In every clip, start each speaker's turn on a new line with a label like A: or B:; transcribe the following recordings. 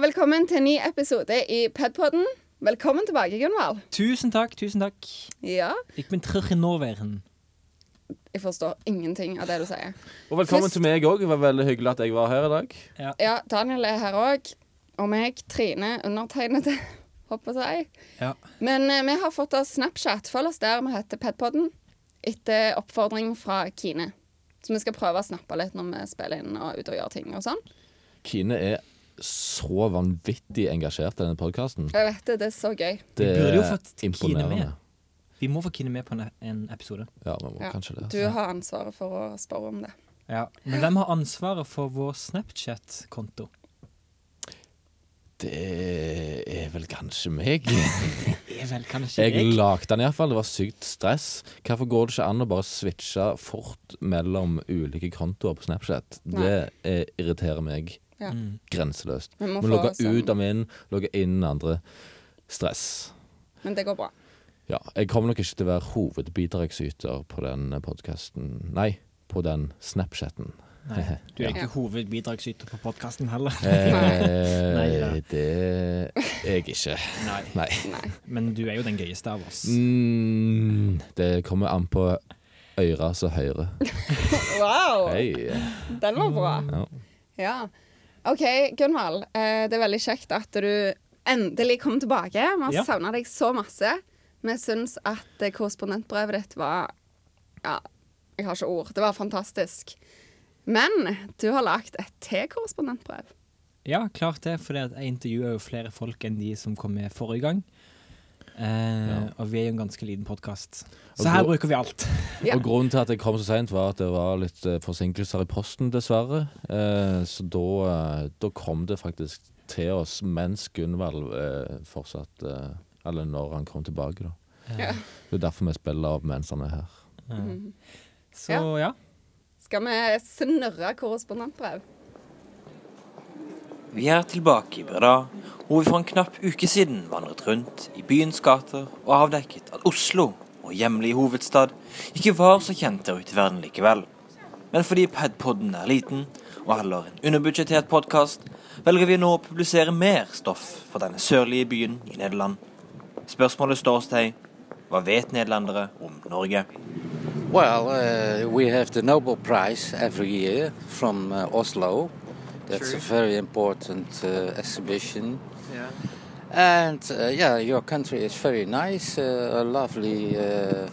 A: Velkommen til en ny episode i Pedpodden. Velkommen tilbake, Gunvald.
B: Tusen takk, tusen takk.
A: Ja,
B: Jeg bin terrenoværen.
A: jeg forstår ingenting av det du sier.
C: Og velkommen
A: Flest-
C: til meg òg. Det var veldig hyggelig at jeg var her i dag.
A: Ja, Daniel er her òg. Og meg, Trine, undertegnede, håper jeg.
B: Ja.
A: Men eh, vi har fått oss Snapchat. Følg oss der vi heter Pedpodden. Etter oppfordring fra Kine. Så vi skal prøve å snappe litt når vi spiller inn og ut og gjør ting og sånn.
D: Kine er så vanvittig engasjert i denne podkasten.
A: Jeg vet det, det er så gøy.
D: Det
B: Vi burde jo fått
D: er
B: Kine med.
D: imponerende.
B: Vi må få Kine med på en, en episode.
D: Ja, vi må
A: Ja.
D: kanskje det.
A: Du
D: altså.
A: har ansvaret for å spørre om det.
B: Men hvem har ansvaret for vår Snapchat-konto?
D: Det er vel kanskje meg.
B: Det er vel kanskje
D: Jeg lagde den iallfall. Det var sykt stress. Hvorfor går det ikke an å bare switche fort mellom ulike kontoer på Snapchat? Det eh, irriterer meg
A: Ja.
B: Mm.
D: grenseløst.
A: Vi må få
D: Må
A: sånn-
D: logge
A: oss en-
D: ut av min, logge inn den andre. Stress.
A: Men det går bra.
D: Ja, jeg kommer nok ikke til å være hovedbidragsyter på den podkasten Nei, på den Snapchatten.
B: Nei, du
A: Ja.
B: er ikke hovedbidragsyter på podkasten heller.
D: Eh,
B: Nei da.
D: det er jeg ikke.
B: Nei.
D: Nei.
A: Nei.
B: Men du er jo den gøyeste av oss.
D: Mm, det kommer an på øra som hører.
A: Wow!
D: Hei.
A: Den var bra.
D: Ja.
A: Ja. OK, Gunvald. Eh, det er veldig kjekt at du endelig kom tilbake. Vi har
B: Ja.
A: savnet savna deg så masse. Vi syns at eh, korrespondentbrevet ditt var Ja, jeg har ikke ord. Det var fantastisk. Men du har lagd et T-korrespondentbrev.
B: Ja, klart det, for jeg intervjuer jo flere folk enn de som kom med forrige gang. Eh, Og vi er jo en ganske liten podkast. Så
D: Og
B: her
D: gå-
B: bruker vi alt.
A: Ja.
D: Og grunnen til at jeg kom så seint, var at det var litt eh, forsinkelser i posten, dessverre. Eh, så da, eh, da kom det faktisk til oss mens Gunvald eh, fortsatt eh, Eller når han kom tilbake, da.
A: Ja.
D: Det er derfor vi spiller av mens han er her.
B: Så ja.
A: Skal vi snurre korrespondentbrev?
E: Vi er tilbake i Breda, hvor vi for en knapp uke siden vandret rundt i byens gater og avdekket at Oslo, vår hjemlige hovedstad, ikke var så kjent der ute i verden likevel. Men fordi Padpodden er liten, og heller en underbudsjettert podkast, velger vi nå å publisere mer stoff fra denne sørlige byen i Nederland. Spørsmålet står hos deg hva vet nederlendere om Norge?
F: Well, uh, we have the Nobel Prize every year from uh, Oslo. That's a very important uh, exhibition. And uh, yeah, your country is very nice, uh, lovely uh,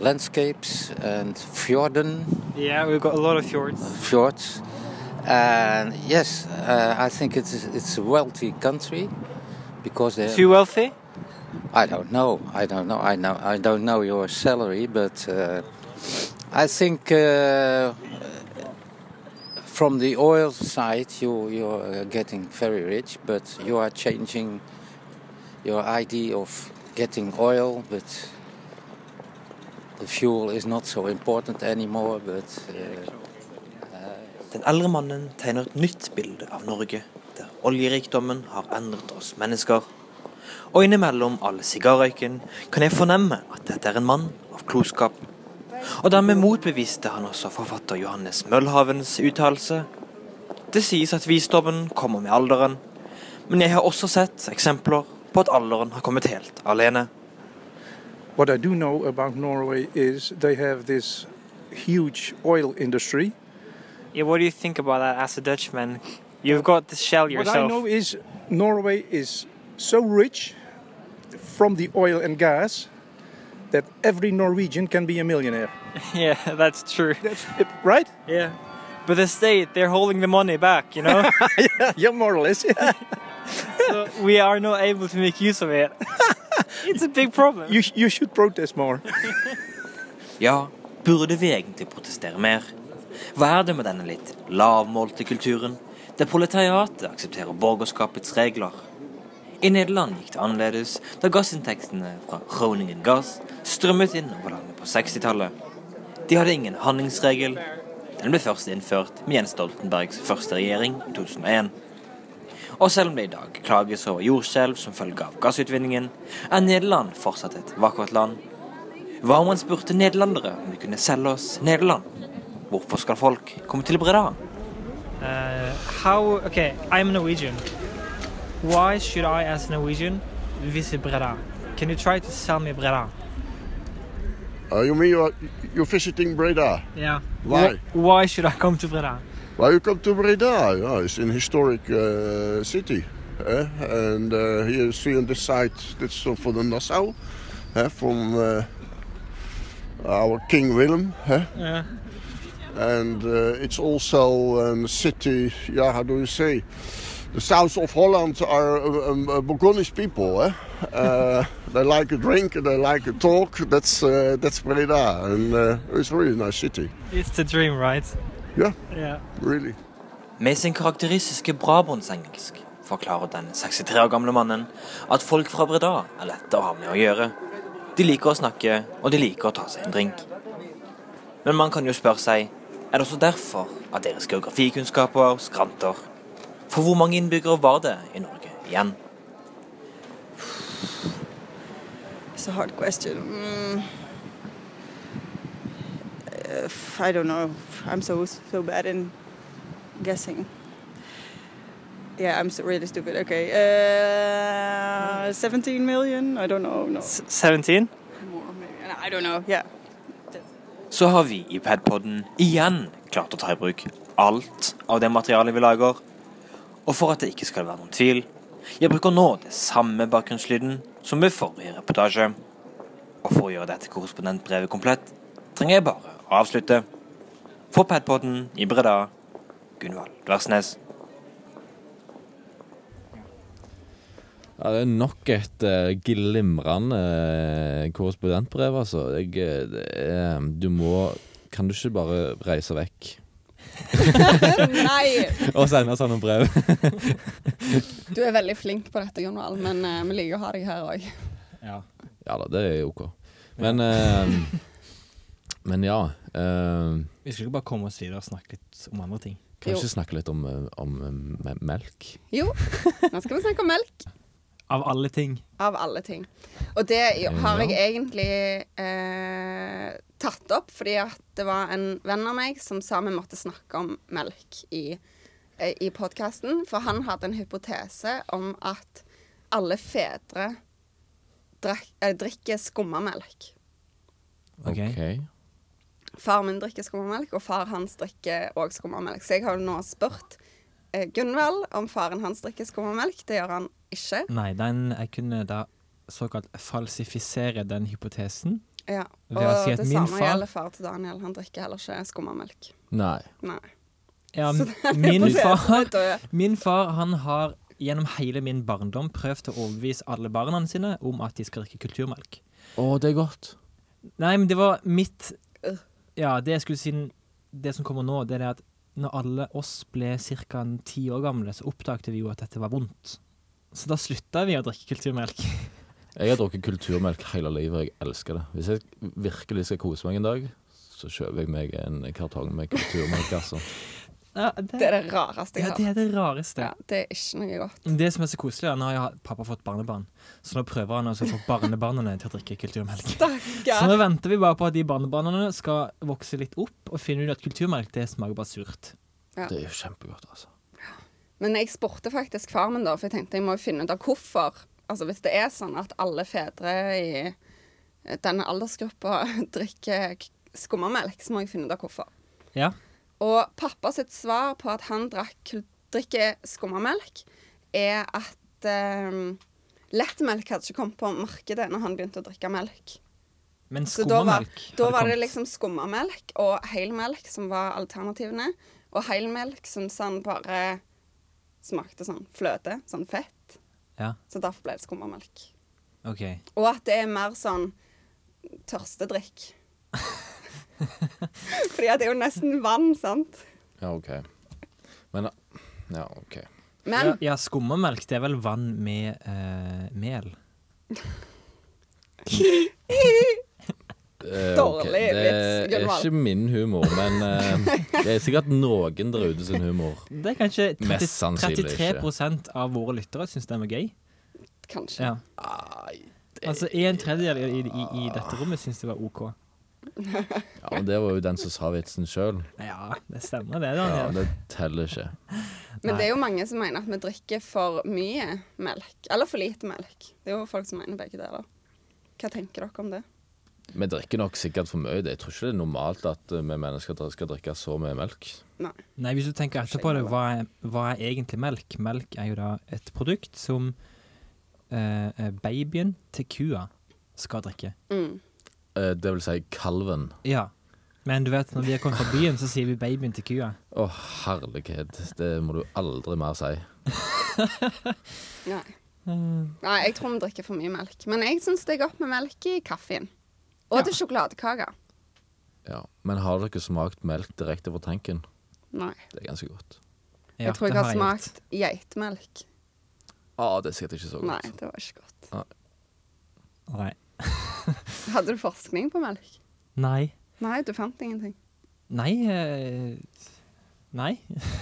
F: landscapes and fjorden,
G: Yeah, we've got a lot of fjords.
F: fjords. And yes, uh, I think it's it's a wealthy country because they
G: Too wealthy?
F: I don't know. I don't know. I know. I don't know your salary, but uh, I think uh, from the oil side, you you're uh, getting very rich, but you are changing your idea of getting oil, but the fuel is not so important anymore. But uh,
E: Den eldre mannen tegner et nytt bilde av Norge, der oljerikdommen har endret oss mennesker. Og innimellom all sigarrøyken kan jeg fornemme at dette er en mann av klokskap. Og dermed motbeviste han også forfatter Johannes Møllhavens uttalelse. Det sies at visdommen kommer med alderen, men jeg har også sett eksempler på at alderen har kommet helt alene.
H: What I do know about Norway is they have this huge oil industry.
G: Yeah, what do you think about that as a Dutchman? You've got to shell
H: What I
G: yourself.
H: know is Norway is so rich from the oil and gas that every Norwegian can be a millionaire.
G: yeah, that's true.
H: That's Eh, right?
G: Yeah. But the state, they're holding the money back, you know?
H: yeah, more or less.
G: so we are not able to make use of it. it's a big problem.
H: you you should protest more.
E: Ja, burde vi egentlig protestere mer? Hva er det med denne litt lavmålte kulturen, der proletariatet aksepterer borgerskapets regler? I Nederland gikk det annerledes, da gassinntektene fra Groningen Gass strømmet inn over landet på 60-tallet. De hadde ingen handlingsregel. Den ble først innført med Jens Stoltenbergs første regjering i 2001. Og selv om det i dag klages over jordskjelv som følge av gassutvinningen, er Nederland fortsatt et vakkert land. Hva om man spurte nederlendere om de kunne selge oss Nederland? Hvorfor skal folk komme til Breda?
G: Uh, how. Okay, I'm Norwegian. Why should I, as Norwegian, visit Breda? Can you try to sell me Breda?
I: Uh, you mean you're, you're visiting Breda?
G: Yeah.
I: Why?
G: Why should I come to Breda?
I: Why you come to Breda? Oh, it's an historic uh, city. eh? And uh, here you see on the side, that's uh, for the Nassau, eh, from uh, our King Willem. eh?
G: Yeah.
I: And uh, it's also a city, yeah, how do you say? The south of Holland are uh, um, uh, Burgundish people. Eh? Uh, they like a drink and they like a talk. That's, uh, that's Breda. And uh, it's a really nice city.
G: It's the dream, right?
I: Yeah,
G: Yeah.
I: really.
E: Med sin karakteristiske brabantsengelsk forklarer den 63 år gamle mannen at folk fra Breda er lette å ha med å gjøre. De liker å snakke, og de liker å ta seg en drink. Men man kan jo spørre seg er det også derfor at deres geografikunnskaper skranter. For hvor mange innbyggere var det i Norge igjen?
J: It's a hard question. Mm. Uh, I don't know. I'm so so bad in guessing. Yeah, I'm so really stupid. Okay, uh, 17 million. I don't know. No,
G: S- 17?
J: more maybe. I don't know. Yeah.
E: så har vi i Padpodden igjen klart å ta i bruk alt av det materialet vi lager. Og for at det ikke skal være noen tvil, jeg bruker nå det samme bakgrunnslyden som ved forrige reportasje. Og for å gjøre dette korrespondentbrevet komplett, trenger jeg bare å avslutte. For Padpodden i Breda, Gunvald Dversnes.
D: Ja, det er nok et eh, glimrende eh, korrespondentbrev, altså. Jeg, eh, det er, du må Kan du ikke bare reise vekk
A: Nei!
D: og sende sånne brev?
A: Du er veldig flink på dette, Gunvald, men eh, vi liker å ha deg her òg.
B: Ja.
D: Ja da, det er OK. Men eh, Men ja. eh,
B: Vi skulle ikke bare komme oss videre og snakke litt om andre ting.
D: kan vi
A: Jo.
D: ikke snakke litt om, eh, om eh, me- melk?
A: Jo, nå skal vi snakke om melk.
B: Av alle ting.
A: Av alle ting. Og det har jeg egentlig eh, tatt opp, fordi at det var en venn av meg som sa vi måtte snakke om melk i, eh, i podkasten. For han hadde en hypotese om at alle fedre drakk, eh, drikker skummamelk.
B: Ok.
A: Far min drikker skummamelk, og far hans drikker òg skummamelk. Så jeg har jo nå spurt eh, Gunvald om faren hans drikker skummamelk. Det gjør han ikke.
B: Nei, den, jeg kunne da såkalt falsifisere den hypotesen.
A: Ja,
B: Ved
A: og
B: å si at
A: det
B: min
A: samme
B: far-
A: gjelder far til Daniel. Han drikker heller ikke skummamelk.
D: Nei.
A: Nei.
B: Ja,
A: Så
B: min far,
A: Da-
B: min far han har gjennom hele min barndom prøvd å overbevise alle barna sine om at de skal drikke kulturmelk.
D: Å, det er godt.
B: Nei, men det var mitt
A: Øh.
B: Ja, det jeg skulle si Det som kommer nå, det er det at når alle oss ble ca. ti år gamle, så oppdagte vi jo at dette var vondt. Så da slutta vi å drikke kulturmelk.
D: Jeg har drukket kulturmelk hele livet, og jeg elsker det. Hvis jeg virkelig skal kose meg en dag, så kjøper jeg meg en kartong med kulturmelk, altså.
B: Ja,
A: Det er det rareste jeg
B: ja,
A: har
B: det
A: hørt.
B: er det rareste.
A: Ja, det er ikke noe godt.
B: Det som er så koselig, er nå har jeg hatt- pappa fått barnebarn, så nå prøver han altså å få barnebarna til å drikke kulturmelk. Så
A: Stakkar.
B: nå venter vi bare på at de barnebarna skal vokse litt opp, og finner ut at kulturmelk det smaker bare surt.
D: Det er jo kjempegodt, altså.
A: Men jeg spurte faktisk far min, da, for jeg tenkte jeg må jo finne ut av hvorfor. Altså Hvis det er sånn at alle fedre i denne aldersgruppa drikker k- skummamelk, så må jeg finne ut av hvorfor.
B: Ja.
A: Og pappa sitt svar på at han drakk, kul- drikker skummamelk, er at eh, lettmelk hadde ikke kommet på markedet når han begynte å drikke melk.
B: Men
A: Så da var,
B: skummamelk
A: da
B: hadde
A: var det
B: kommet.
A: liksom skummamelk og helmelk som var alternativene. Og helmelk syns han bare smakte sånn fløte, sånn fett.
B: Ja,
A: Så derfor ble det skummamelk. liksom-
B: ok.
A: Og at det er mer sånn tørstedrikk. Fordi at det er jo nesten vann, sant?
D: Ja, OK. Men eh, Ja, OK.
A: Men
B: ja, ja, skummamelk, det er vel vann med eh, mel?
D: Eh,
A: Dårlig
D: ok.
A: vits,
D: Det er
A: Gunvald.
D: ikke min humor, men eh, det er sikkert noen der ute sin humor.
B: Det er kanskje 30,
D: Mest sannsynlig ikke.
B: 33 av våre lyttere syns den var gøy.
A: kanskje.
B: Ja. Altså en tredjedel i, i, i dette rommet syns det var OK.
D: Ja, men Det var jo den som sa vitsen sjøl.
B: Ja, det stemmer det,
D: Ja,
B: Daniel.
D: det teller ikke.
A: Men det er jo mange som mener at vi drikker for mye melk. Eller for lite melk. Det er jo folk som mener begge deler. Hva tenker dere om det?
D: Vi drikker nok sikkert for mye. Jeg tror ikke det er normalt at eh, vi mennesker dr- skal drikke så mye melk.
A: Nei.
B: Nei, hvis du tenker etterpå det, hva er, hva er egentlig melk? Melk er jo da et produkt som eh, eh, babyen til kua skal drikke.
A: Mm.
D: Eh, Det vil si kalven.
B: Ja. Men du vet, når vi har kommet fra byen, så sier vi babyen til kua.
D: Å, herlighet. Det må du aldri mer si.
A: Nei.
B: Eh.
A: Nei, jeg tror vi drikker for mye melk. Men jeg syns det er godt med melk i kaffen. Og til sjokoladekaker.
D: Ja. Men har dere smakt melk direkte fra tanken?
A: Nei.
D: Det er ganske godt.
B: Ja,
A: jeg tror
B: det
A: jeg har
B: har jeg
A: smakt geitmelk.
D: Ah, det er sikkert ikke så
A: Nei,
D: godt.
A: det var ikke godt.
B: Nei.
A: Hadde du forskning på melk?
B: Nei.
A: Nei, du fant ingenting.
B: Nei. eh, Nei.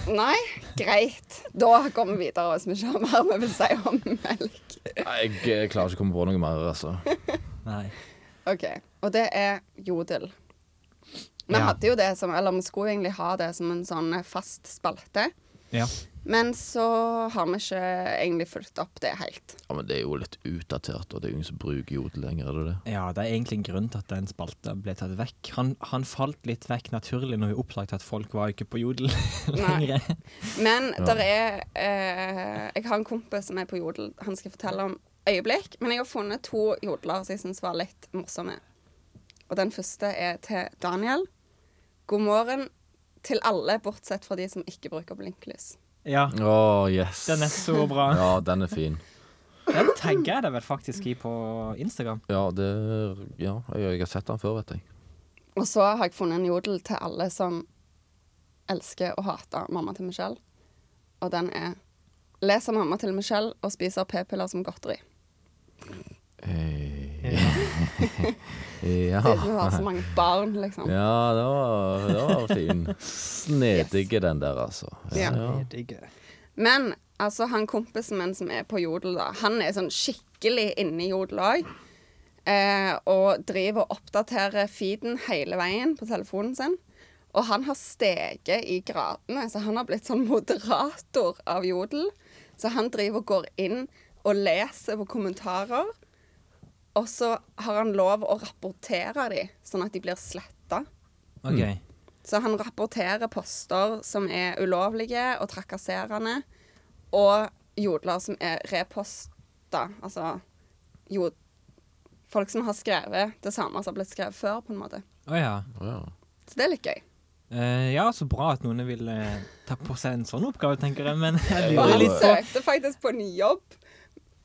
A: Nei? Greit. Da går vi videre hvis vi ikke har mer vi vil si om melk.
D: Nei, Jeg eh, klarer ikke å komme på noe mer, altså.
B: Nei.
A: OK. Og det er jodel. Vi
B: Ja.
A: hadde jo det som Eller vi skulle egentlig ha det som en sånn fast spalte.
B: Ja.
A: Men så har vi ikke egentlig fulgt opp det helt.
D: Ja, Men det er jo litt utdatert, og det er jo ingen som bruker jodel lenger, er det det?
B: Ja, det er egentlig en grunn til at den spalta ble tatt vekk. Han, han falt litt vekk naturlig når vi oppdaget at folk var ikke på jodel lenger.
A: Men der er eh, Jeg har en kompis som er på jodel. Han skal fortelle om øyeblikk. Men jeg har funnet to jodler som jeg syns var litt morsomme. Og den første er til Daniel. God morgen til alle, bortsett fra de som ikke bruker blinklys.
B: Ja,
D: Å, yes.
B: den er så bra.
D: Ja, den er fin.
B: Den tagger jeg deg vel faktisk i på Instagram.
D: Ja, det Ja, jeg, jeg har sett den før, vet jeg.
A: Og så har jeg funnet en jodel til alle som elsker og hater mamma til Michelle. Og den er Leser mamma til Michelle og spiser p-piller som godteri.
D: Eh,
B: Ja.
D: ja.
A: Siden hun har så mange barn, liksom.
D: Ja, det var, det var fin. Snedige, den der, altså.
A: Ja.
B: Jeg digger det.
A: Men altså, han kompisen min som er på jodel, da, han er sånn skikkelig inne i jodel òg. Eh, og driver og oppdaterer feeden hele veien på telefonen sin. Og han har steget i gradene, så han har blitt sånn moderator av jodel. Så han driver og går inn og leser på kommentarer. Og så har han lov å rapportere de, sånn at de blir sletta.
B: OK.
A: Så han rapporterer poster som er ulovlige og trakasserende, og jodler som er reposta, altså jod... Folk som har skrevet det samme som har blitt skrevet før, på en måte.
B: Å ja.
D: Ja.
A: Så det er litt gøy.
B: Eh, ja, så bra at noen vil eh, ta på seg en sånn oppgave, tenker jeg, men jeg
A: Og
B: lurer
A: han
B: litt på
A: søkte faktisk på en jobb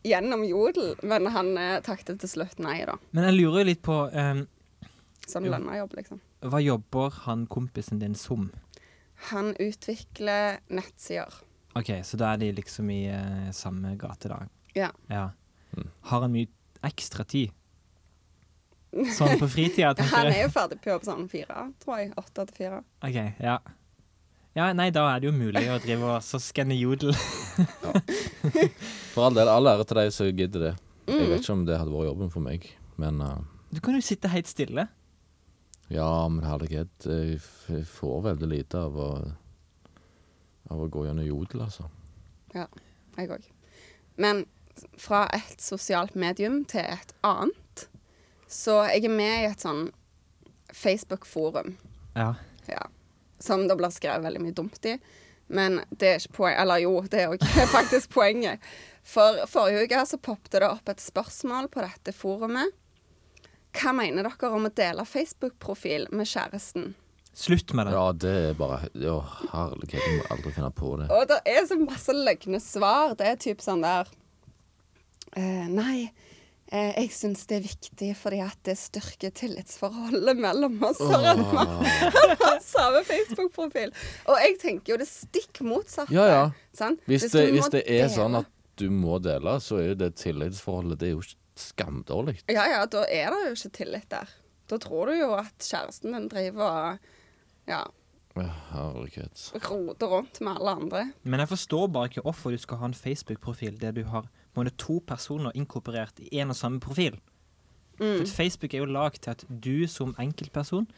A: gjennom jodel, men han eh, takket til slutt nei, da.
B: Men jeg lurer jo litt på eh,
A: Sånn
B: Jo.
A: lønna jobb, liksom.
B: Hva jobber han kompisen din som?
A: Han utvikler nettsider.
B: OK, så da er de liksom i eh, samme gate, da.
A: Ja.
B: ja. Har han mye ekstra tid? Sånn på fritida,
A: Han
B: tenker
A: er
B: jeg.
A: jo ferdig på jobb sånn fire, tror jeg. Åtte til fire.
B: OK, ja. Ja, nei, da er det jo mulig å drive og så skanne jodel.
D: For all del, all ære til deg som gidder det.
A: Mm.
D: Jeg vet ikke om det hadde vært jobben for meg, men eh,
B: Du kan jo sitte helt stille.
D: ja, men herlighet, jeg eh, f- jeg får veldig lite av å av å gå gjennom jodel, altså.
A: Ja, jeg òg. Men fra et sosialt medium til et annet. Så jeg er med i et sånn Facebook-forum
B: Ja.
A: ja, som det blir skrevet veldig mye dumt i. Men det er ikke poenget. Eller jo, det er jo faktisk poenget. For forrige uke så poppet det opp et spørsmål på dette forumet. Hva mener dere om å dele Facebook-profil med kjæresten?
B: Slutt med det.
D: Ja, det er bare Å, herlighet, jeg må aldri finne på det.
A: Og det er så masse løgne svar. Det er typ sånn der eh, Nei, eh, jeg syns det er viktig fordi at det styrker tillitsforholdet mellom oss. Har han har samme Facebook-profil? Og jeg tenker jo det stikk motsatte.
D: Ja, ja.
A: Sant?
D: Hvis
A: du
D: det, hvis
A: må
D: det er
A: dele-
D: sånn at du må dele, så er jo det tillitsforholdet Det er jo ikke skamdårlig.
A: Ja, ja, da er det jo ikke tillit der. Da tror du jo at kjæresten din driver og ja,
D: Å, Herlighet.
A: roter rundt med alle andre.
B: Men jeg forstår bare ikke hvorfor du skal ha en Facebook-profil der du har på en måte to personer inkorporert i én og samme profil. For at Facebook er jo lagd til at du som enkeltperson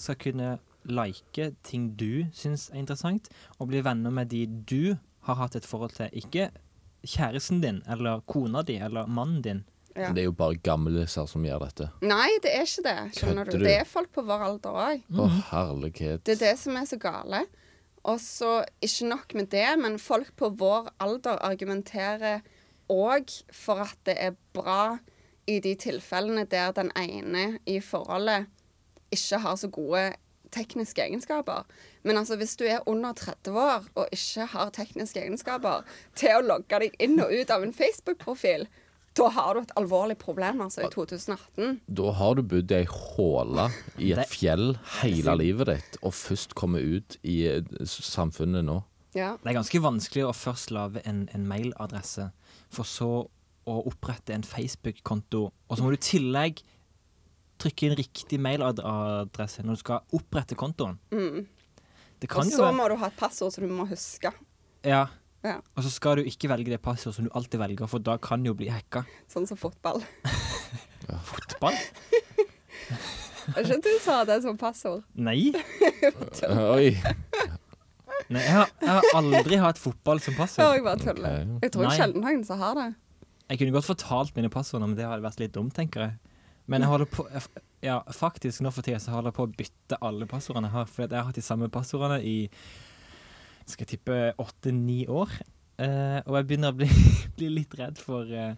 B: skal kunne like ting du syns er interessant, og bli venner med de du har hatt et forhold til. Ikke kjæresten din eller kona di eller mannen din.
A: Ja.
D: Det er jo bare gamliser som gjør dette.
A: Nei, det er ikke det. Skjønner du?
D: Kødder du?
A: Det er folk på vår alder òg.
D: Å,
B: Mhm.
D: herlighet.
A: Det er det som er så gale. Og så ikke nok med det, men folk på vår alder argumenterer òg for at det er bra i de tilfellene der den ene i forholdet ikke har så gode tekniske egenskaper. Men altså, hvis du er under 30 år og ikke har tekniske egenskaper til å logge deg inn og ut av en Facebook-profil, da har du et alvorlig problem, altså, i 2018.
D: Da har du bodd i ei håle i et
B: Det-
D: fjell hele livet ditt, og først kommer ut i eh, s- samfunnet nå.
A: Ja.
B: Det er ganske vanskelig å først lage en, en mailadresse, for så å opprette en Facebook-konto, og så må du i tillegg trykke inn riktig mailadresse når du skal opprette kontoen.
A: Mm.
B: Det
A: Og
B: kan jo
A: så
B: være
A: må du ha et passord som du må huske.
B: Ja.
A: Ja.
B: Og så skal du ikke velge det passordet som du alltid velger, for da kan det jo bli hacka.
A: Sånn som fotball.
B: Fotball?
A: Var ikke du sa det som passord?
B: Nei.
D: Oi.
B: Nei jeg, har, jeg har aldri hatt fotball som
A: Før
B: passord.
A: jeg bare tuller.
D: Ok.
A: Jeg tror
B: Nei.
A: sjelden noen som har det.
B: Jeg kunne godt fortalt mine passord, men det hadde vært litt dumt, tenker jeg. Men jeg holder på jeg, f- Ja, faktisk, nå for tida så holder jeg på å bytte alle passordene jeg har, for jeg har hatt de samme passordene i skal jeg tippe åtte-ni år. Eh, og jeg begynner å bli, bli litt redd for eh,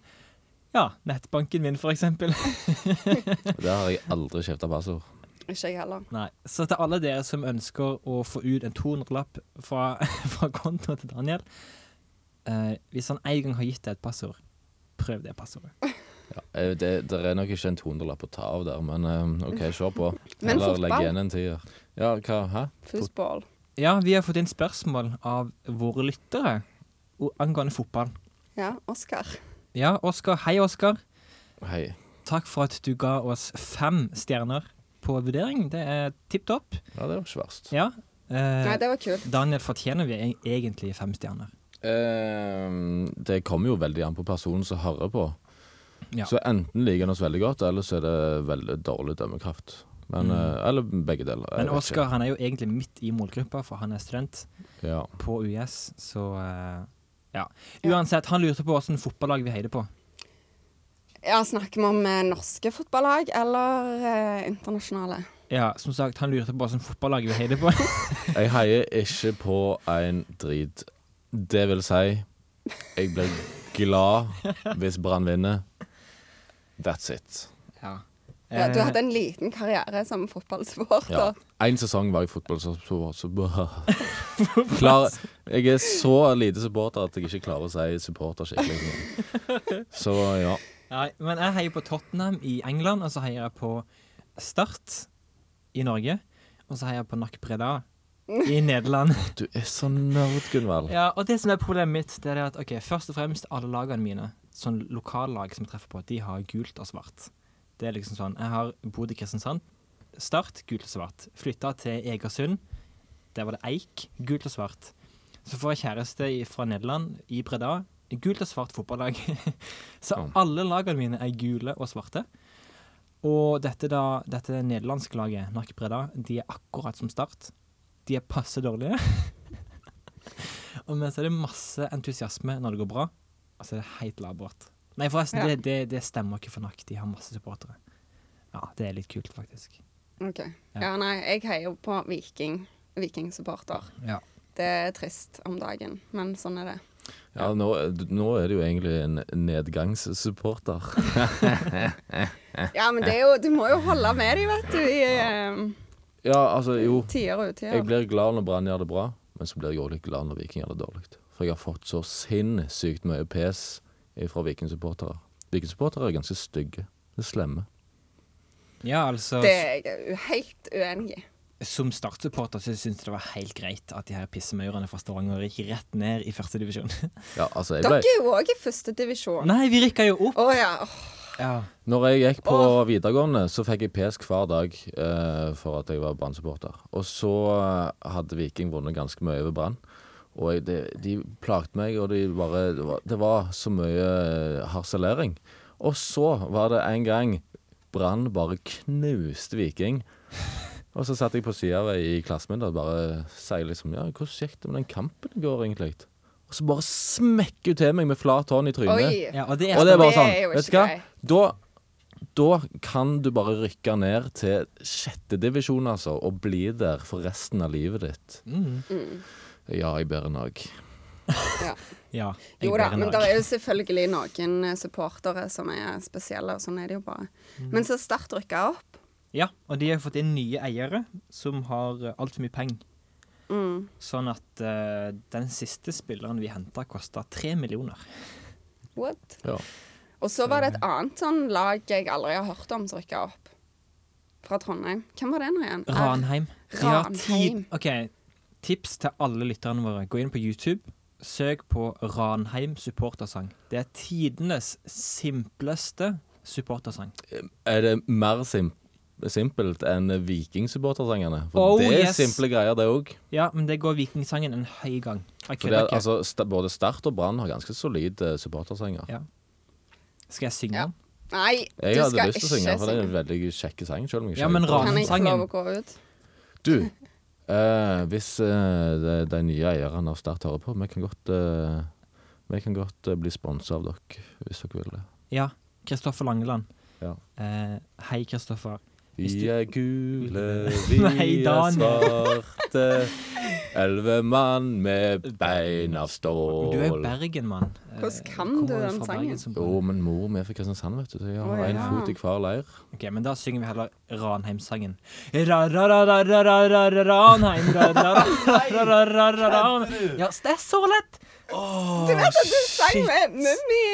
B: ja, nettbanken min, for eksempel.
D: Der har jeg aldri skifta passord.
A: Ikke jeg heller.
B: Nei. Så til alle dere som ønsker å få ut en 200-lapp fra, fra kontoen til Daniel eh, Hvis han en gang har gitt deg et passord, prøv det passordet.
D: Eh, Det, det er nok ikke en 200-lapp å ta av der, men eh, OK, se på.
A: Men
D: Eller
A: fotball?
D: legg igjen en tier. Ja, hva? Hæ?
A: Football.
B: Ja, vi har fått inn spørsmål av våre lyttere o- angående fotball.
A: Ja, Oscar.
B: Ja, Oskar. Hei, Oskar.
D: Hei.
B: Takk for at du ga oss fem stjerner på vurdering. Det er tipp topp.
D: Ja, det var ikke verst.
B: Ja. eh,
A: Nei, det var kult.
B: Daniel, fortjener vi e- egentlig fem stjerner?
D: Ehm, det kommer jo veldig an på personen som hører på.
B: Ja.
D: Så enten liker han oss veldig godt, eller så er det veldig dårlig dømmekraft. Men, eh, eller begge deler. jeg
B: Mm. Men
D: vet
B: Oskar han er jo egentlig midt i målgruppa, for han er student
D: ikke. Ja.
B: på UiS, så eh, ja. Uansett, han lurte på åssen fotballag vi heier på.
A: Ja, Snakker vi om eh, norske fotballag eller eh, internasjonale?
B: Ja, som sagt, han lurte på åssen fotballag vi heier på.
D: Jeg heier ikke på en drit. Det vil si, jeg blir glad hvis Brann vinner. That's it.
B: ja.
A: Ja, du
B: Eh,
A: hadde en liten karriere som
D: Ja.
A: fotballsupporter.
D: Én sesong var jeg fotballsupporter. Så, klar, jeg er så lite supporter at jeg ikke klarer å si supporter skikkelig. Så ja.
B: Nei, men jeg heier på Tottenham i England, og så heier jeg på Start i Norge. Og så heier jeg på Nac Breda i Nederland.
D: Du er så nerd, Gunvald.
B: Ja, og det som er problemet mitt, det er det at ok, først og fremst alle lagene mine, sånn lokallag som jeg treffer på, de har gult og svart. Det er liksom sånn, jeg har bodd i Kristiansand, start, gult og svart. Flyttet til Egersund, der var det eik, gult og svart. Så får jeg kjæreste i- fra Nederland, i Breda, gult og svart fotballag. Så alle lagene mine er gule og svarte. Og dette, da, dette nederlandske laget, Nakke Breda, de er akkurat som start. De er passe dårlige. Og mens er det masse entusiasme når det går bra, og så er det helt labert. Nei, forresten,
A: Ja.
B: det, det, det stemmer ikke for nok. De har masse supportere. Ja, det er litt kult, faktisk.
A: Ok. Ja, nei, jeg heier jo på Viking. Vikingsupporter.
B: Ja.
A: Det er trist om dagen, men sånn er det.
D: Ja, nå, nå er det jo egentlig en nedgangssupporter.
A: Ja, men det er jo, du må jo holde med dem, vet du, i eh,
D: Ja, altså, jo.
A: tider og utider.
D: Jeg blir glad når Brann gjør det bra, men så blir jeg også litt glad når Viking gjør det dårlig. For jeg har fått så sinnssykt mye pes fra Viking-supportere. Viking-supportere er ganske stygge. Det er slemme.
B: Ja, altså,
A: Det er jeg jo helt uenig i.
B: som startsupporter så syns jeg det var helt greit at de her pissemaurene fra Stavanger gikk rett ned i førstedivisjon.
D: Ja, altså, jeg
A: Dere
D: ble...
A: er jo òg i førstedivisjon.
B: Nei, vi rykka jo opp!
A: Å ja. åh,
B: Ja.
D: Når jeg gikk på videregående, så fikk jeg pes hver dag eh, for at jeg var Brann-supporter. Og så eh, hadde Viking vunnet ganske mye over Brann. Og jeg, de, de plagte meg, og de bare, det, var, det var så mye eh, harselering. Og så var det en gang Brann bare knuste Viking. Og så satt jeg på sida i klassen min og bare sier liksom Ja, hvordan gikk det med den kampen i går, egentlig? Og Og så bare smekker hun til meg med flat hånd i trynet.
A: Oi. Ja, og det er-
D: bare
A: Det
D: sånn,
A: er jo ikke
D: vet du hva?
A: grei.
D: Da, da kan du bare rykke ned til sjettedivisjon, altså, og bli der for resten av livet ditt.
B: Mm.
A: Mm.
D: Ja, jeg ber en dag.
A: Ja.
B: Ja. jeg
A: Jo da,
D: bærer
A: men
D: nag.
A: det er jo selvfølgelig noen eh, supportere som er spesielle, og sånn er det jo bare. Men så Start rykka opp.
B: Ja, og de har fått inn nye eiere som har eh, altfor mye penger.
A: Mm.
B: Sånn at eh, den siste spilleren vi henta, kosta tre millioner.
A: What?
D: Ja.
A: Og så var det et annet sånn lag jeg aldri har hørt om som rykka opp. Fra Trondheim. Hvem var det nå igjen?
B: Ranheim. De har ti-
A: Ranheim.
B: OK, tips til alle lytterne våre. Gå inn på YouTube. Søk på Ranheim supportersang. Det er tidenes simpleste supportersang.
D: Er det mer sim simpelt enn vikingsupportersangene? For
B: Oh,
D: det er
B: yes.
D: simple greier, det òg.
B: Ja, men det går Vikingsangen en høy gang. Jeg
D: For det
B: kødder
D: er-
B: ikke.
D: altså, sta- både Start og Brann har ganske eh, solide supportersanger.
B: Ja. Skal jeg synge den?
A: Nei,
D: Jeg
A: du
D: hadde
A: skal
D: lyst til å synge, den,
A: ikke
D: for det er en veldig kjekke sang. Selv om jeg ikke
B: Ja, men
D: har hørt
A: Kan jeg ikke få lov
B: Ransangen
A: å gå ut?
D: den. Du, eh, hvis eh, de, de nye eierne av Start hører på, vi kan godt, eh, vi kan godt eh, bli sponsa av dere, hvis dere vil det.
B: Ja. Kristoffer Langeland.
D: Ja.
B: Eh, hei, Kristoffer. Hvis
D: Vi
B: du-
D: er gule, vi
B: Nei,
D: er
B: Daniel.
D: svarte. Elleve mann med bein av stål.
B: Du er jo Bergen-mann. Eh,
A: Hvordan kan
B: kommer
A: du den
B: fra
A: sangen?
B: Bergen som
D: Jo, men mor mi er fra Kristiansand, vet du. Så jeg har
A: Å,
D: én
A: ja.
D: fot i hver leir.
B: Ok, men da synger vi heller Ranheim-sangen. Ra-ra-ra-ra-ra-ra-ra-Ranheim ra-ra-ra-ra-ra-ra-ra-ra-ra. Ja, s- det er så lett!
A: Du vet at du sang med Mummi!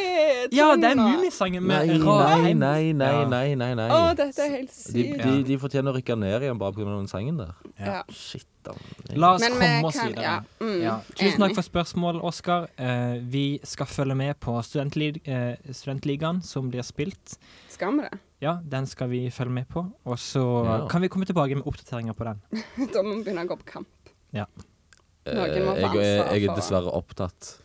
B: Ja, det er Mummisangen
D: Nei,
B: med
D: nei,
B: Ranheim.
D: nei, nei,
B: Ja.
D: nei. nei, nei.
A: Å, dette er helt
D: de,
A: sykt.
D: de, de fortjener å rykke ned igjen bare pga. den sangen der.
A: Ja.
D: Shit, da.
B: La oss
A: Men vi
B: komme oss
A: kan-
B: videre.
A: ja, mm,
B: Ja. Tusen
A: enig.
B: takk for spørsmål, Oskar. Eh, vi skal følge med på studentli eh, Studentligaen som blir spilt.
A: Skal vi det?
B: Ja, den skal vi følge med på. Og så
D: Ja.
B: kan vi komme tilbake med oppdateringer på den.
A: Da må vi begynne å gå på kamp.
B: Ja.
D: Eh,
A: Noen må få
D: jeg, jeg,
A: ansvar
D: jeg
A: for-
D: er dessverre opptatt.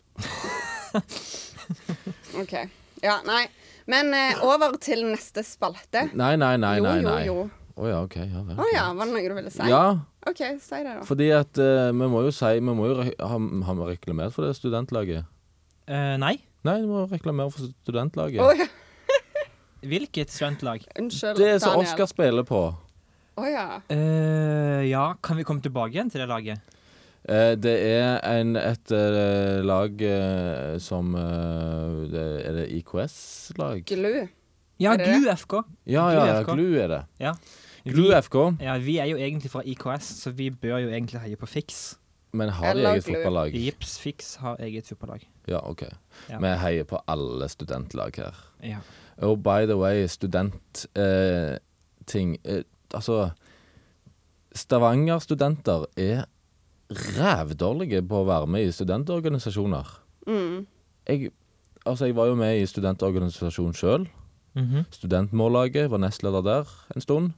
A: OK. Ja, nei. Men eh, over til neste spalte.
D: Nei, nei, nei, nei. nei.
A: Jo, jo, jo.
D: Å ja, OK. Ja, vel,
A: Å
D: ok.
A: ja, var det noe du ville si?
D: ja,
A: OK, si det, da.
D: fordi at eh, vi må jo si Vi må jo re- ha, har vi reklamert for det studentlaget?
B: Eh, nei,
D: Nei, vi må reklamere for studentlaget.
A: Å ja,
B: hvilket studentlag?
A: unnskyld,
D: det er som
A: Daniel.
D: Oskar spiller på.
A: Å ja.
B: Eh, ja, kan vi komme tilbake igjen til det laget?
D: Eh, det er en, et eh, lag eh, som eh, det, Er det IKS-lag?
A: Glu.
B: Ja,
A: Er det det?
B: GLU FK.
D: Ja, ja,
B: GLU
D: ja,
B: FK.
D: GLU er det.
B: Ja.
D: GLU FK.
B: Ja, vi er jo egentlig fra IKS, så vi bør jo egentlig heie på Fiks.
D: Men har de
A: Eller
D: eget
A: GLU.
D: fotballag?
B: Jips Fiks har eget fotballag.
D: Ja, OK.
B: Ja.
D: Vi heier på alle studentlag her.
B: Ja.
D: Og Oh, by the way, studentting eh, ting, eh, Altså Stavanger-studenter er rævdårlige på å være med i studentorganisasjoner.
A: Mm.
D: Jeg, altså, jeg var jo med i studentorganisasjon sjøl.
B: Mhm.
D: Studentmållaget var nestleder der en stund.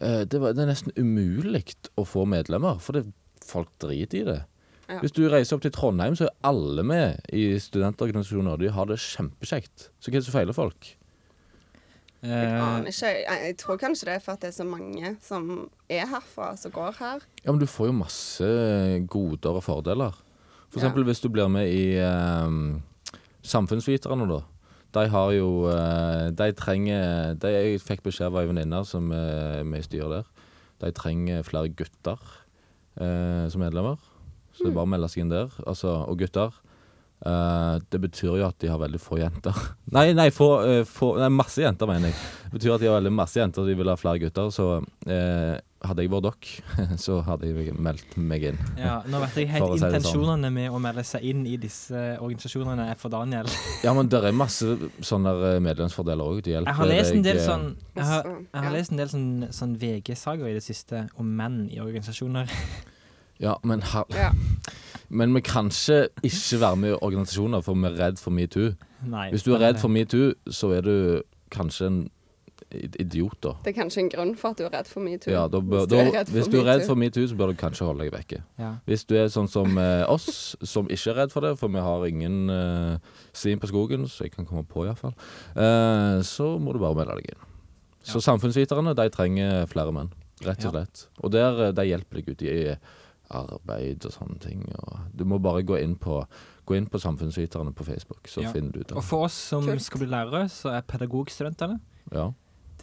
D: Eh, Det, var, det er nesten umulig å få medlemmer, for det, folk driter i det.
A: Ja.
D: Hvis du reiser opp til Trondheim, så er alle med i studentorganisasjoner. De har det kjempekjekt. Så hva er det som feiler folk?
A: Jeg
B: Eh,
A: aner ikke. Jeg, jeg tror kanskje det er for at det er så mange som er herfra, som går her.
D: Ja, men du får jo masse goder og fordeler. For
A: Ja.
D: eksempel hvis du blir med i ehm, Samfunnsviterne, da. De har jo eh, De trenger de, Jeg fikk beskjed av ei venninne som eh, er med i styret der. De trenger flere gutter eh, som medlemmer. Så det er bare å melde seg inn der. Altså, og gutter. eh, det betyr jo at de har veldig få jenter. Nei, nei, få, eh, få Nei, masse jenter, mener jeg. Det betyr at de har veldig masse jenter, og de vil ha flere gutter. Så eh, hadde jeg vært dere, så hadde jeg meldt meg inn.
B: ja, nå vet jeg helt
D: For å si det sånn.
B: intensjonene med å melde seg inn i disse organisasjonene er for Daniel.
D: Ja, men det er masse sånne der eh, medlemsfordeler òg. Det hjelper
B: Jeg har lest en del
D: deg, eh,
B: sånn Jeg har,
A: Også,
B: jeg har
A: ja.
B: lest en del sånn, sånn VG-saker i det siste om menn i organisasjoner.
D: Ja, men, her,
A: Ja.
D: men vi kan ikke ikke være med i organisasjoner, for vi er redd for metoo.
B: Nei.
D: Hvis du er redd for metoo, så er du kanskje en i- idiot, da.
A: Det er kanskje en grunn for at du er redd for metoo.
D: Ja, da bør,
A: Hvis du er
D: da,
A: redd for
D: hvis du er redd
A: metoo.
D: for metoo, så bør du kanskje holde deg vekke.
B: Ja.
D: Hvis du er sånn som eh, oss, som ikke er redd for det, for vi har ingen eh, slim på skogen, så jeg kan komme på iallfall, eh, så må du bare melde deg inn. Så samfunnsviterne, de trenger flere menn, rett og
B: Ja.
D: slett. Og der, eh, de hjelper deg ut i arbeid og sånne ting. Og du må bare gå inn på Gå inn på Samfunnsviterne på Facebook, så
B: Ja.
D: finner du ut
B: Og
D: av
B: for oss som
A: Kult.
B: skal bli lærere, så er Pedagogstudentene
D: ja.